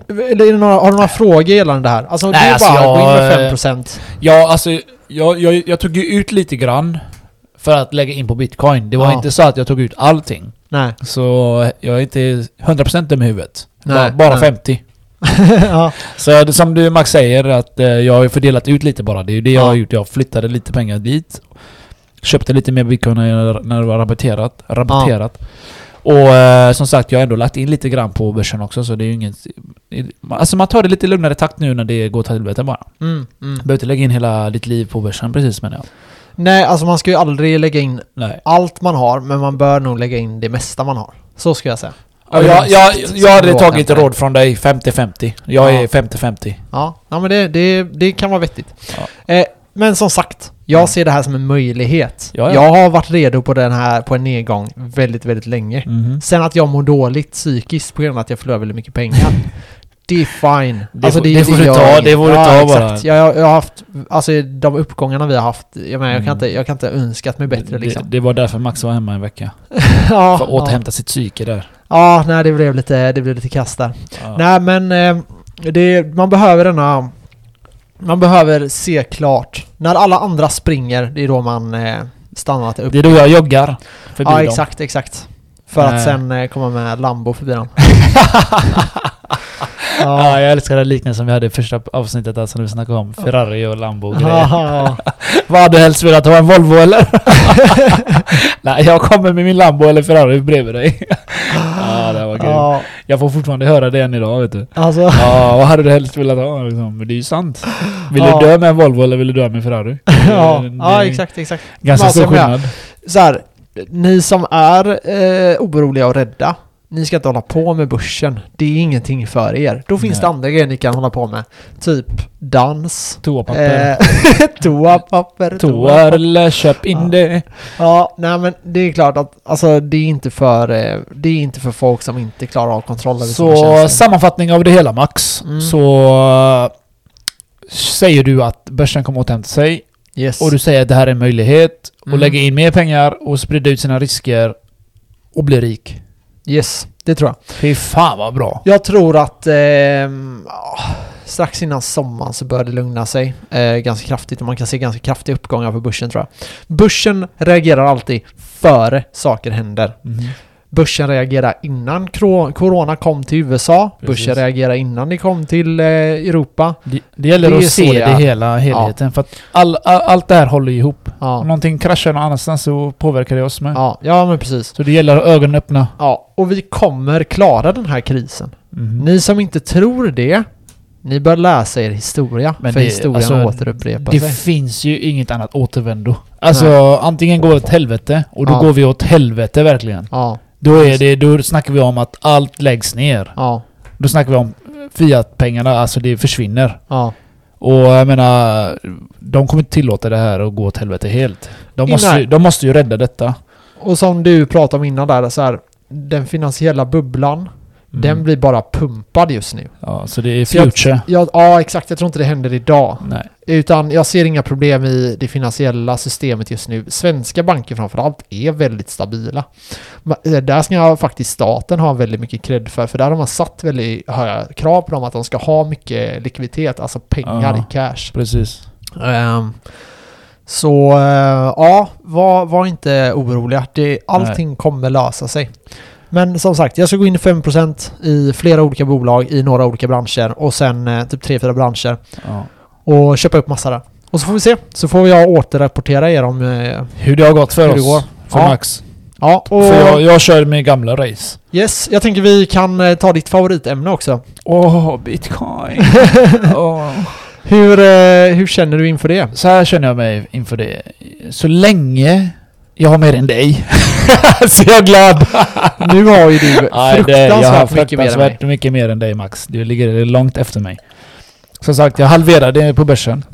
[SPEAKER 2] Eller är det några, har du några frågor gällande det här? Alltså
[SPEAKER 1] Nej,
[SPEAKER 2] det är
[SPEAKER 1] alltså,
[SPEAKER 2] bara att gå in
[SPEAKER 1] jag-
[SPEAKER 2] med 5%.
[SPEAKER 1] ja, alltså jag, jag, jag tog ju ut lite grann för att lägga in på bitcoin. Det var
[SPEAKER 2] Ja.
[SPEAKER 1] inte så att jag tog ut allting.
[SPEAKER 2] Nej.
[SPEAKER 1] Så jag är inte 100% dum i huvudet.
[SPEAKER 2] Nej,
[SPEAKER 1] bara bara
[SPEAKER 2] nej.
[SPEAKER 1] 50.
[SPEAKER 2] ja.
[SPEAKER 1] Så det, som du Max säger, att eh, jag har ju fördelat ut lite bara. Det är ju det jag
[SPEAKER 2] Ja.
[SPEAKER 1] har gjort. Jag flyttade lite pengar dit. Köpte lite mer bitcoin när, jag- när det var rabatterat. rabatterat. Och eh, som sagt, jag har ändå lagt in lite grann på börsen också. Så det är ju inget... Alltså man tar det lite lugnare takt nu när det går till helvete bara.
[SPEAKER 2] Mm, mm.
[SPEAKER 1] Behöver inte lägga in hela ditt liv på börsen precis menar jag.
[SPEAKER 2] Nej, alltså man ska ju aldrig lägga in
[SPEAKER 1] Nej.
[SPEAKER 2] allt man har, men man bör nog lägga in det mesta man har. Så ska jag säga.
[SPEAKER 1] Och jag, jag, jag hade
[SPEAKER 2] Råd
[SPEAKER 1] tagit
[SPEAKER 2] efter dig.
[SPEAKER 1] råd från dig 50-50. Jag
[SPEAKER 2] Ja.
[SPEAKER 1] är 50-50.
[SPEAKER 2] Ja, ja men det, det, det kan vara vettigt. Eh, men som sagt, jag ser det här som en möjlighet.
[SPEAKER 1] Mm. Ja, ja.
[SPEAKER 2] Jag har varit redo på den här, på en nedgång väldigt, väldigt länge.
[SPEAKER 1] Mhm.
[SPEAKER 2] Sen att jag mår dåligt psykiskt på grund av att jag förlorar väldigt mycket pengar. det är fine. Alltså,
[SPEAKER 1] Det får- det får du
[SPEAKER 2] gör
[SPEAKER 1] ta-
[SPEAKER 2] inget.
[SPEAKER 1] det får du
[SPEAKER 2] Ja,
[SPEAKER 1] ta bara.
[SPEAKER 2] exakt. Jag, jag, jag har haft, alltså de uppgångarna vi har haft, jag menar jag kan
[SPEAKER 1] Mm.
[SPEAKER 2] inte, jag kan inte önskat mig bättre
[SPEAKER 1] det,
[SPEAKER 2] liksom.
[SPEAKER 1] det var därför Max var hemma en vecka.
[SPEAKER 2] ja,
[SPEAKER 1] För att återhämta sitt psyke där.
[SPEAKER 2] ja. ja, nej det blev lite, det blev lite kast där.
[SPEAKER 1] Ja.
[SPEAKER 2] Nej men, eh, det, man behöver denna Man behöver se klart. När alla andra springer, det är då man eh, stannar att upp.
[SPEAKER 1] Det är då jag joggar förbi
[SPEAKER 2] Ja,
[SPEAKER 1] dem.
[SPEAKER 2] exakt, exakt. För
[SPEAKER 1] Nej.
[SPEAKER 2] att sen eh, komma med Lambo förbi dem.
[SPEAKER 1] Ja.
[SPEAKER 2] ja.
[SPEAKER 1] jag älskar den liknelsen vi hade i första avsnittet där som vi snackade om. Ferrari och Lambo och grejer.
[SPEAKER 2] Ja.
[SPEAKER 1] Vad hade du helst velat ha? En Volvo eller? Nej, jag kommer med min Lambo eller Ferrari bredvid dig. ja, det var kul.
[SPEAKER 2] ja,
[SPEAKER 1] Jag får fortfarande höra det än idag, vet du.
[SPEAKER 2] alltså.
[SPEAKER 1] Ja, vad hade du helst velat ha? Liksom? Men det är ju sant. Vill
[SPEAKER 2] Ja.
[SPEAKER 1] du dö med en Volvo eller vill du dö med en Ferrari? Det är-
[SPEAKER 2] ja.
[SPEAKER 1] det är
[SPEAKER 2] ja, exakt, exakt.
[SPEAKER 1] Ganska
[SPEAKER 2] Ja,
[SPEAKER 1] stor
[SPEAKER 2] som jag.
[SPEAKER 1] skillnad.
[SPEAKER 2] Så här, ni som är eh, oroliga och rädda, ni ska inte hålla på med börsen. Det är ingenting för er. Då finns
[SPEAKER 1] Nej.
[SPEAKER 2] det andra grejer ni kan hålla på med. Typ dans.
[SPEAKER 1] Toapapper.
[SPEAKER 2] Eh, toapapper.
[SPEAKER 1] Toa eller köp in
[SPEAKER 2] Ja.
[SPEAKER 1] det.
[SPEAKER 2] Ja, nej men det är klart att alltså, det, är inte för, eh, det är inte för folk som inte klarar av kontroll över
[SPEAKER 1] Så
[SPEAKER 2] sina känslor.
[SPEAKER 1] sammanfattning av det hela Max.
[SPEAKER 2] Mm.
[SPEAKER 1] Så eh, säger du att börsen kommer återhämta sig
[SPEAKER 2] Yes.
[SPEAKER 1] och du säger att det här är en möjlighet och
[SPEAKER 2] Mm.
[SPEAKER 1] lägga in mer pengar och sprida ut sina risker och bli rik.
[SPEAKER 2] yes, det tror jag.
[SPEAKER 1] Fy fan vad bra.
[SPEAKER 2] Jag tror att eh, ja, strax innan sommaren så börjar det lugna sig eh, ganska kraftigt och man kan se ganska kraftiga uppgångar för börsen tror jag. Börsen reagerar alltid före saker händer.
[SPEAKER 1] Mhm.
[SPEAKER 2] Börsen reagerar innan kro- corona kom till USA. Börsen
[SPEAKER 1] Precis.
[SPEAKER 2] reagerar innan det kom till eh, Europa.
[SPEAKER 1] Det, det gäller
[SPEAKER 2] Det är
[SPEAKER 1] att
[SPEAKER 2] så
[SPEAKER 1] se
[SPEAKER 2] det
[SPEAKER 1] det
[SPEAKER 2] är.
[SPEAKER 1] hela helheten för att all, all, allt det här håller ihop.
[SPEAKER 2] Ja,
[SPEAKER 1] Om någonting kraschar någon annanstans så påverkar det oss med.
[SPEAKER 2] ja, ja men precis.
[SPEAKER 1] Så det gäller att ha ögonen öppna.
[SPEAKER 2] Ja, och vi kommer klara den här krisen.
[SPEAKER 1] Mhm.
[SPEAKER 2] Mm. Ni som inte tror det, ni bör läsa er historia.
[SPEAKER 1] Men
[SPEAKER 2] för
[SPEAKER 1] det-
[SPEAKER 2] historien
[SPEAKER 1] alltså,
[SPEAKER 2] återupprepar
[SPEAKER 1] Det
[SPEAKER 2] sig.
[SPEAKER 1] finns ju inget annat återvändo. Alltså antingen går det åt helvete och då
[SPEAKER 2] Ja.
[SPEAKER 1] går vi åt helvete verkligen.
[SPEAKER 2] Ja,
[SPEAKER 1] Då, är det, då snackar vi om att allt läggs ner.
[SPEAKER 2] ja,
[SPEAKER 1] Då snackar vi om Fiat-pengarna, alltså det försvinner.
[SPEAKER 2] ja.
[SPEAKER 1] Och jag menar, de kommer inte tillåta det här att gå åt helvete helt. De måste, ju,
[SPEAKER 2] Nej.
[SPEAKER 1] de måste ju rädda detta.
[SPEAKER 2] Och som du pratade om innan där, så här, den finansiella bubblan,
[SPEAKER 1] Mm.
[SPEAKER 2] den blir bara pumpad just nu.
[SPEAKER 1] Ja, så det är
[SPEAKER 2] Så jag-
[SPEAKER 1] future.
[SPEAKER 2] Ja, ja, exakt. Jag tror inte det händer idag.
[SPEAKER 1] Nej.
[SPEAKER 2] Utan jag ser inga problem i det finansiella systemet just nu. Svenska banker framförallt är väldigt stabila. Ma- eh, Där ska jag faktiskt staten ha väldigt mycket cred för, för där har man satt väldigt höga krav på dem att de ska ha mycket likviditet, alltså pengar
[SPEAKER 1] Ja.
[SPEAKER 2] i cash.
[SPEAKER 1] Precis.
[SPEAKER 2] Ehm, så eh, ja, var, var inte oroliga. Det, allting kommer lösa sig. Men som sagt, jag ska gå in i 5% i flera olika bolag i några olika branscher och sen eh, typ 3-4 branscher
[SPEAKER 1] Ja.
[SPEAKER 2] och köpa upp massa där. Och så får vi se. Så får jag återrapportera er om... eh,
[SPEAKER 1] Hur det har gått för
[SPEAKER 2] Hur det
[SPEAKER 1] oss.
[SPEAKER 2] går.
[SPEAKER 1] För
[SPEAKER 2] Ja.
[SPEAKER 1] Max.
[SPEAKER 2] Ja, och...
[SPEAKER 1] För jag, jag kör med gamla race.
[SPEAKER 2] Yes, jag tänker vi kan eh, ta ditt favoritämne också.
[SPEAKER 1] Åh, bitcoin.
[SPEAKER 2] Hur, eh, hur känner du inför det?
[SPEAKER 1] Så här känner jag mig inför det. Så länge jag har mer än dig så jag är glad.
[SPEAKER 2] Nu har ju du
[SPEAKER 1] Nej, det, jag har
[SPEAKER 2] fruktansvärt, mycket mer än mig.
[SPEAKER 1] fruktansvärt mycket mer än dig Max. Du ligger långt efter mig. Som sagt, jag halverade på börsen.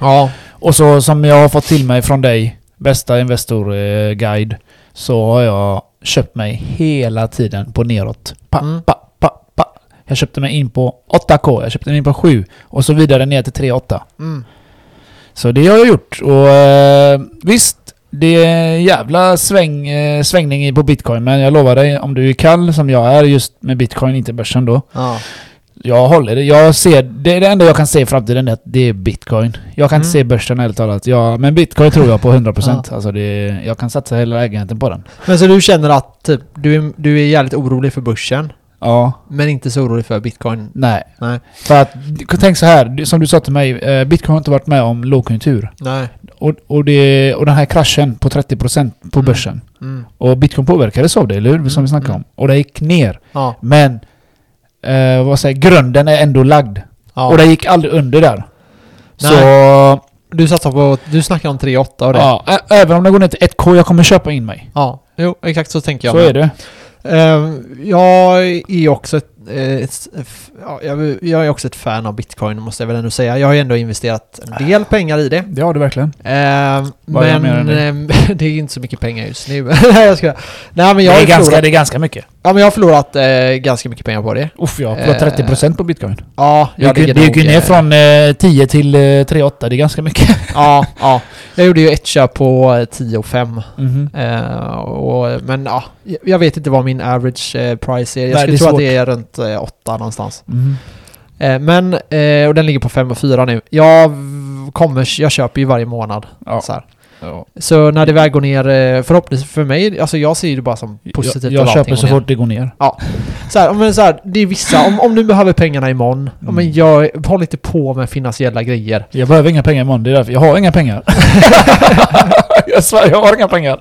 [SPEAKER 2] Ja,
[SPEAKER 1] Och så som jag har fått till mig från dig, bästa investorguide, eh, guide, så har jag köpt mig hela tiden på neråt. Pa,
[SPEAKER 2] Mm.
[SPEAKER 1] pa, pa, pa. Jag köpte mig in på 8K, jag köpte mig in på 7 och så vidare ner till 3,8.
[SPEAKER 2] mm,
[SPEAKER 1] Så det har jag gjort och eh, visst, det är en jävla sväng, eh, svängning i- på bitcoin men jag lovar dig om du är kall som jag är just med bitcoin, inte börsen då.
[SPEAKER 2] ja.
[SPEAKER 1] Jag håller det. Jag ser, det, är det enda jag kan se i framtiden är att det är bitcoin. Jag kan inte
[SPEAKER 2] Mm.
[SPEAKER 1] se börsen ärligt talat. Jag, men bitcoin tror jag på 100%. Alltså det, är- jag kan satsa hela lägenheten på den.
[SPEAKER 2] Men så du känner att typ, du, är, du är jävligt orolig för börsen,
[SPEAKER 1] Ja.
[SPEAKER 2] men inte så orolig för bitcoin?
[SPEAKER 1] Nej.
[SPEAKER 2] Nej.
[SPEAKER 1] För att, tänk så här, du- som du sa till mig, eh, bitcoin har inte varit med om lågkonjunktur.
[SPEAKER 2] Nej.
[SPEAKER 1] Och, och, det, och den här kraschen på 30% på
[SPEAKER 2] Mm.
[SPEAKER 1] börsen.
[SPEAKER 2] Mm.
[SPEAKER 1] Och bitcoin påverkades av det, eller hur? Som vi
[SPEAKER 2] Mm,
[SPEAKER 1] snackade
[SPEAKER 2] mm.
[SPEAKER 1] om. Och det gick ner.
[SPEAKER 2] Ja.
[SPEAKER 1] Men, eh, vad säger jag, grunden är ändå lagd.
[SPEAKER 2] ja.
[SPEAKER 1] Och det gick aldrig under där.
[SPEAKER 2] Nej.
[SPEAKER 1] Så...
[SPEAKER 2] du satsar på... Du snackar om 3,8 och det.
[SPEAKER 1] Ja, ä- även om det går ner till 1K, jag kommer köpa in mig.
[SPEAKER 2] ja. Jo, exakt så tänker jag.
[SPEAKER 1] så är det.
[SPEAKER 2] Ehm, jag är också ett, eh, ett f- ja, jag, jag är också ett fan av bitcoin måste jag väl ändå säga. Jag har ju ändå investerat en del pengar i det.
[SPEAKER 1] Det har du verkligen.
[SPEAKER 2] Ehm,
[SPEAKER 1] Vad är jag mer än
[SPEAKER 2] men
[SPEAKER 1] dig?
[SPEAKER 2] ehm, det är ju inte så mycket pengar just nu. Nej jag skojar. Nej men jag,
[SPEAKER 1] det,
[SPEAKER 2] har
[SPEAKER 1] är ganska,
[SPEAKER 2] förlorat,
[SPEAKER 1] det är ganska mycket.
[SPEAKER 2] ja, men jag har förlorat eh, ganska mycket pengar på det.
[SPEAKER 1] Uff, jag har förlorat
[SPEAKER 2] Eh,
[SPEAKER 1] 30% på bitcoin.
[SPEAKER 2] Ja,
[SPEAKER 1] Det gick, ju- det gick ju ner från eh, 10 till eh, 3,8. Det är ganska mycket.
[SPEAKER 2] Ja, ja. Jag gjorde ju ett köp på eh, 10 och 5.
[SPEAKER 1] Mhm.
[SPEAKER 2] Eh, och, men ja, jag- jag vet inte vad min average eh, price är.
[SPEAKER 1] Nej,
[SPEAKER 2] Jag
[SPEAKER 1] det
[SPEAKER 2] skulle
[SPEAKER 1] är
[SPEAKER 2] tro
[SPEAKER 1] svårt.
[SPEAKER 2] att det är runt eh, 8 någonstans.
[SPEAKER 1] Mhm.
[SPEAKER 2] Eh, Men, eh, och den ligger på 5 och 4 nu. Jag v- kommer, jag köper ju varje månad.
[SPEAKER 1] Ja.
[SPEAKER 2] Så, här.
[SPEAKER 1] Ja.
[SPEAKER 2] så när det väl går ner, eh, förhoppningsvis för mig, alltså jag ser ju det bara som positivt.
[SPEAKER 1] Jag, jag
[SPEAKER 2] att allting
[SPEAKER 1] köper
[SPEAKER 2] går
[SPEAKER 1] så
[SPEAKER 2] ner.
[SPEAKER 1] fort det går ner.
[SPEAKER 2] Så här, men så här, det är vissa, om, om du behöver pengarna imorgon, ja, men jag, håll inte på med finansiella grejer.
[SPEAKER 1] Jag behöver inga pengar imorgon, det är därför. Jag har inga pengar. jag svär, jag har inga pengar.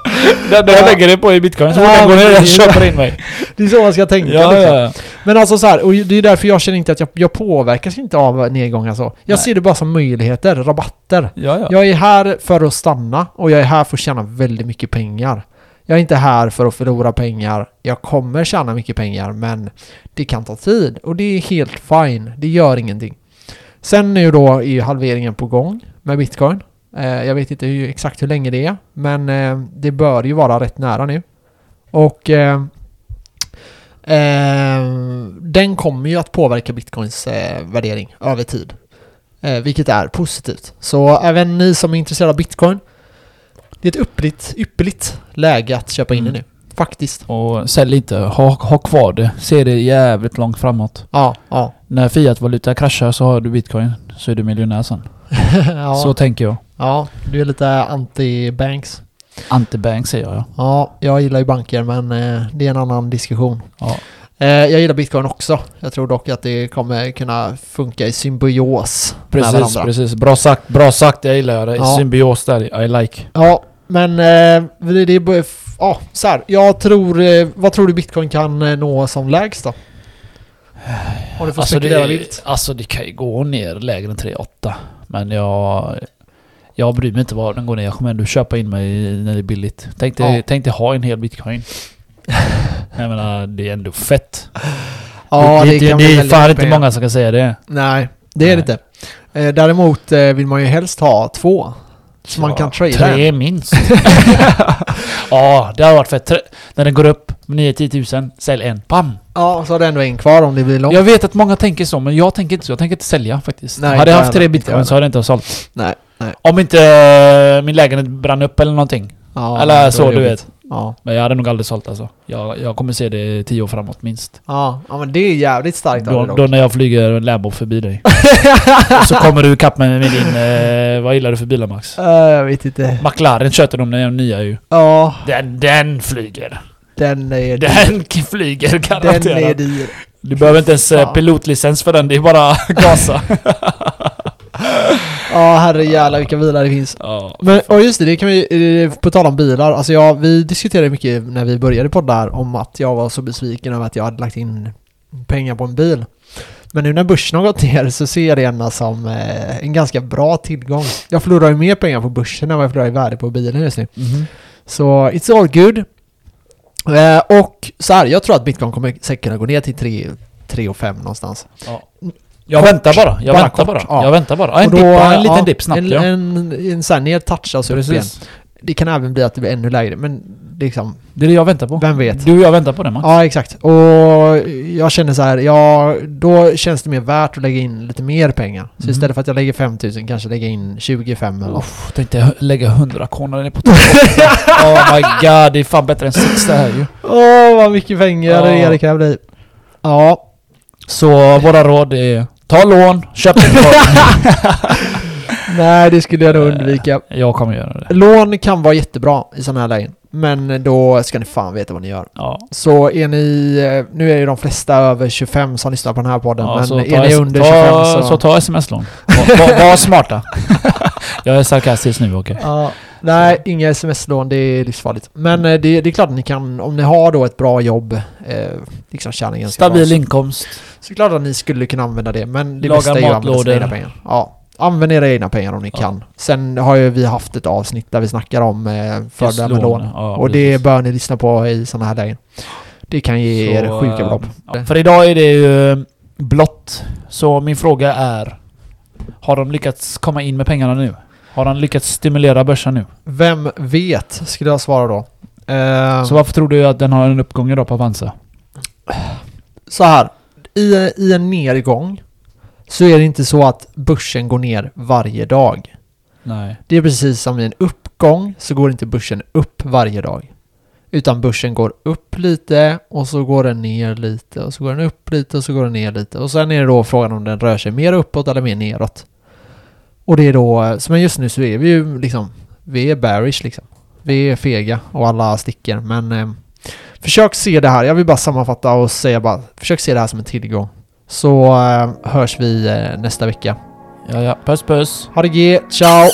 [SPEAKER 1] Det enda jag
[SPEAKER 2] Ja.
[SPEAKER 1] lägger det på i bitcoin, så fort
[SPEAKER 2] Ja,
[SPEAKER 1] den går ner, jag
[SPEAKER 2] precis.
[SPEAKER 1] köper in mig.
[SPEAKER 2] Det är så man ska tänka.
[SPEAKER 1] Ja,
[SPEAKER 2] liksom.
[SPEAKER 1] ja.
[SPEAKER 2] Men alltså så här, och det är därför jag känner inte att jag, jag påverkas inte av nedgångar så. Jag
[SPEAKER 1] Nej.
[SPEAKER 2] ser det bara som möjligheter, rabatter.
[SPEAKER 1] ja, ja.
[SPEAKER 2] Jag är här för att stanna och jag är här för att tjäna väldigt mycket pengar. Jag är inte här för att förlora pengar. Jag kommer tjäna mycket pengar men det kan ta tid och det är helt fine. Det gör ingenting. Sen nu då är ju halveringen på gång med bitcoin. Eh, jag vet inte hur, exakt hur länge det är men eh, det bör ju vara rätt nära nu. Och eh, eh, den kommer ju att påverka bitcoins eh, värdering över tid. Eh, vilket är positivt. Så även ni som är intresserade av bitcoin. Det är ett ypperligt, ypperligt läge att köpa in
[SPEAKER 1] Mm.
[SPEAKER 2] det nu. Faktiskt.
[SPEAKER 1] Och sälj inte, ha, ha kvar det. Se det jävligt långt framåt.
[SPEAKER 2] Ja, ja.
[SPEAKER 1] När fiatvaluta kraschar så har du bitcoin, så är du miljonär sen.
[SPEAKER 2] ja,
[SPEAKER 1] Så tänker jag.
[SPEAKER 2] ja, du är lite anti-banks.
[SPEAKER 1] Antibank säger jag.
[SPEAKER 2] Ja, jag gillar ju banker men eh, det är en annan diskussion.
[SPEAKER 1] Ja.
[SPEAKER 2] Eh, jag gillar bitcoin också. Jag tror dock att det kommer kunna funka i symbios med
[SPEAKER 1] Precis,
[SPEAKER 2] varandra.
[SPEAKER 1] precis. Bra sagt, bra sagt. Jag gillar det.
[SPEAKER 2] Ja.
[SPEAKER 1] Symbios där, I like.
[SPEAKER 2] Ja, men eh, det det är... bara- Ja, så här. Jag tror... Eh, vad tror du bitcoin kan eh, nå som lägst då? Om du får spekulera vilt.
[SPEAKER 1] alltså det kan ju gå ner lägre än 3,8. Men jag... Jag bryr mig inte var den går ner. Jag kommer ändå köpa in mig när det är billigt. Tänk dig,
[SPEAKER 2] Ja.
[SPEAKER 1] tänk dig ha en hel bitcoin. Jag menar, det är ändå fett.
[SPEAKER 2] Ja, det, kan bli
[SPEAKER 1] är
[SPEAKER 2] väldigt
[SPEAKER 1] fan
[SPEAKER 2] mycket
[SPEAKER 1] inte
[SPEAKER 2] pengar.
[SPEAKER 1] många som kan säga det.
[SPEAKER 2] Nej, det är det inte. Eh, däremot eh, vill man ju helst ha två. Så man kan trada
[SPEAKER 1] Tre minst. ja, det har varit fett. Tre, när den går upp 9-10 tusen, sälj en. Bam!
[SPEAKER 2] Ja, så har du ändå en kvar om det blir långt.
[SPEAKER 1] Jag vet att många tänker så, men jag tänker inte så. Jag tänker inte sälja faktiskt.
[SPEAKER 2] Nej,
[SPEAKER 1] hade jag haft
[SPEAKER 2] inte
[SPEAKER 1] tre
[SPEAKER 2] heller. Inte
[SPEAKER 1] bitcoin så hade jag inte ha sålt.
[SPEAKER 2] Nej, nej.
[SPEAKER 1] Om inte eh, min lägenhet brann upp eller någonting.
[SPEAKER 2] Ja,
[SPEAKER 1] eller
[SPEAKER 2] då är
[SPEAKER 1] så,
[SPEAKER 2] det
[SPEAKER 1] du
[SPEAKER 2] jobbigt.
[SPEAKER 1] vet.
[SPEAKER 2] Ja.
[SPEAKER 1] Men jag hade nog aldrig sålt alltså. Jag, jag kommer se det tio år framåt minst.
[SPEAKER 2] Ja, ja, men det är jävligt starkt av
[SPEAKER 1] Då,
[SPEAKER 2] dig
[SPEAKER 1] då
[SPEAKER 2] dock.
[SPEAKER 1] när jag flyger en Lambo förbi dig. Och så kommer du ikapp mig med din... Eh, vad gillar du för bilar Max?
[SPEAKER 2] Eh, Jag vet inte.
[SPEAKER 1] McLaren köpte de den nya ju.
[SPEAKER 2] Ja,
[SPEAKER 1] Den, den flyger.
[SPEAKER 2] den är dyr.
[SPEAKER 1] Den k- flyger garanterat.
[SPEAKER 2] Den är dyr.
[SPEAKER 1] Du behöver inte ens eh,
[SPEAKER 2] Fan.
[SPEAKER 1] pilotlicens för den. Det är bara gasa.
[SPEAKER 2] Ja, herrejävlar vilka bilar det finns.
[SPEAKER 1] ja.
[SPEAKER 2] Men, och just det, det kan vi, eh, på tal om bilar, alltså jag, vi diskuterade mycket när vi började podda här om att jag var så besviken över att jag hade lagt in pengar på en bil. Men nu när börsen har gått ner så ser jag det ändå som eh, en ganska bra tillgång. Jag förlorar ju mer pengar på börsen än vad jag förlorar i värde på bilen just nu.
[SPEAKER 1] Mhm.
[SPEAKER 2] Så it's all good. Eh, och så här, jag tror att bitcoin kommer säkert kunna gå ner till 3, 3 och 5 någonstans.
[SPEAKER 1] Jag
[SPEAKER 2] Kort.
[SPEAKER 1] väntar bara. Jag
[SPEAKER 2] Bara
[SPEAKER 1] väntar
[SPEAKER 2] kort,
[SPEAKER 1] bara.
[SPEAKER 2] ja.
[SPEAKER 1] Jag väntar bara. Ja, En,
[SPEAKER 2] Och då,
[SPEAKER 1] dipp, ja, en
[SPEAKER 2] ja,
[SPEAKER 1] liten dipp snabbt
[SPEAKER 2] en,
[SPEAKER 1] ja.
[SPEAKER 2] En, en sån här nertouch alltså upp igen.
[SPEAKER 1] Precis.
[SPEAKER 2] Det kan även bli att det blir ännu lägre, men liksom,
[SPEAKER 1] Det är det jag väntar på.
[SPEAKER 2] vem vet?
[SPEAKER 1] Du och jag väntar på det Max.
[SPEAKER 2] Ja, exakt. Och jag känner så här, ja, då känns det mer värt att lägga in lite mer pengar. Så
[SPEAKER 1] Mm.
[SPEAKER 2] istället för att jag lägger 5 000 kanske lägga in 25 eller något.
[SPEAKER 1] Uff, tänkte jag lägga 100 k när den är på topp. oh my god, det är fan bättre än 6 det här ju.
[SPEAKER 2] Åh, vad mycket pengar
[SPEAKER 1] Ja.
[SPEAKER 2] det kan bli. Ja,
[SPEAKER 1] Så våra råd är ta lån, köp en
[SPEAKER 2] nej det skulle
[SPEAKER 1] Eh.
[SPEAKER 2] jag nog undvika.
[SPEAKER 1] Jag kommer göra det.
[SPEAKER 2] Lån kan vara jättebra i sådana här lägen. Men då ska ni fan veta vad ni gör.
[SPEAKER 1] Ja.
[SPEAKER 2] Så är ni, eh, nu är ju de flesta över 25 som lyssnar på den här podden,
[SPEAKER 1] Ja,
[SPEAKER 2] men
[SPEAKER 1] så ta
[SPEAKER 2] är ni
[SPEAKER 1] s-
[SPEAKER 2] under 25
[SPEAKER 1] ta,
[SPEAKER 2] så...
[SPEAKER 1] så ta sms-lån. Var, var, var smarta. jag är sarkastisk nu okej.
[SPEAKER 2] Ja, nej, inga sms-lån, det är livsfarligt. Men eh, det, det är klart att ni kan, om ni har då ett bra jobb, eh, liksom tjäna ganska
[SPEAKER 1] Stabil
[SPEAKER 2] bra.
[SPEAKER 1] inkomst.
[SPEAKER 2] Så är det klart att ni skulle kunna använda det, men det
[SPEAKER 1] Laga
[SPEAKER 2] bästa är ju att använda
[SPEAKER 1] matlådor.
[SPEAKER 2] sina egna pengar. Ja, använd era egna pengar om ni
[SPEAKER 1] Ja.
[SPEAKER 2] kan. Sen har ju vi haft ett avsnitt där vi snackar om eh,
[SPEAKER 1] Just
[SPEAKER 2] fördelar med lån.
[SPEAKER 1] Ja,
[SPEAKER 2] Och
[SPEAKER 1] precis.
[SPEAKER 2] det bör ni lyssna på i sådana här lägen. Det kan ge
[SPEAKER 1] Så,
[SPEAKER 2] er sjuka
[SPEAKER 1] eh,
[SPEAKER 2] belopp.
[SPEAKER 1] ja, För idag är det ju eh, blått. Så min fråga är... Har de lyckats komma in med pengarna nu? Har de lyckats stimulera börsen nu?
[SPEAKER 2] Vem vet, skulle jag svara då. Eh,
[SPEAKER 1] Så varför tror du att den har en uppgång idag på Avanza?
[SPEAKER 2] så här, i, i en nedgång så är det inte så att börsen går ner varje dag.
[SPEAKER 1] Nej.
[SPEAKER 2] Det är precis som i en uppgång så går inte börsen upp varje dag. Utan börsen går upp lite och så går den ner lite och så går den upp lite och så går den ner lite. Och sen är det då frågan om den rör sig mer uppåt eller mer neråt. Och det är då, som just nu så är vi ju liksom, vi är bearish liksom. Vi är fega och alla sticker men eh, försök se det här. Jag vill bara sammanfatta och säga bara, försök se det här som en tillgång. Så eh, hörs vi eh, nästa vecka.
[SPEAKER 1] Ja, ja. Puss puss.
[SPEAKER 2] Ha det G, ciao!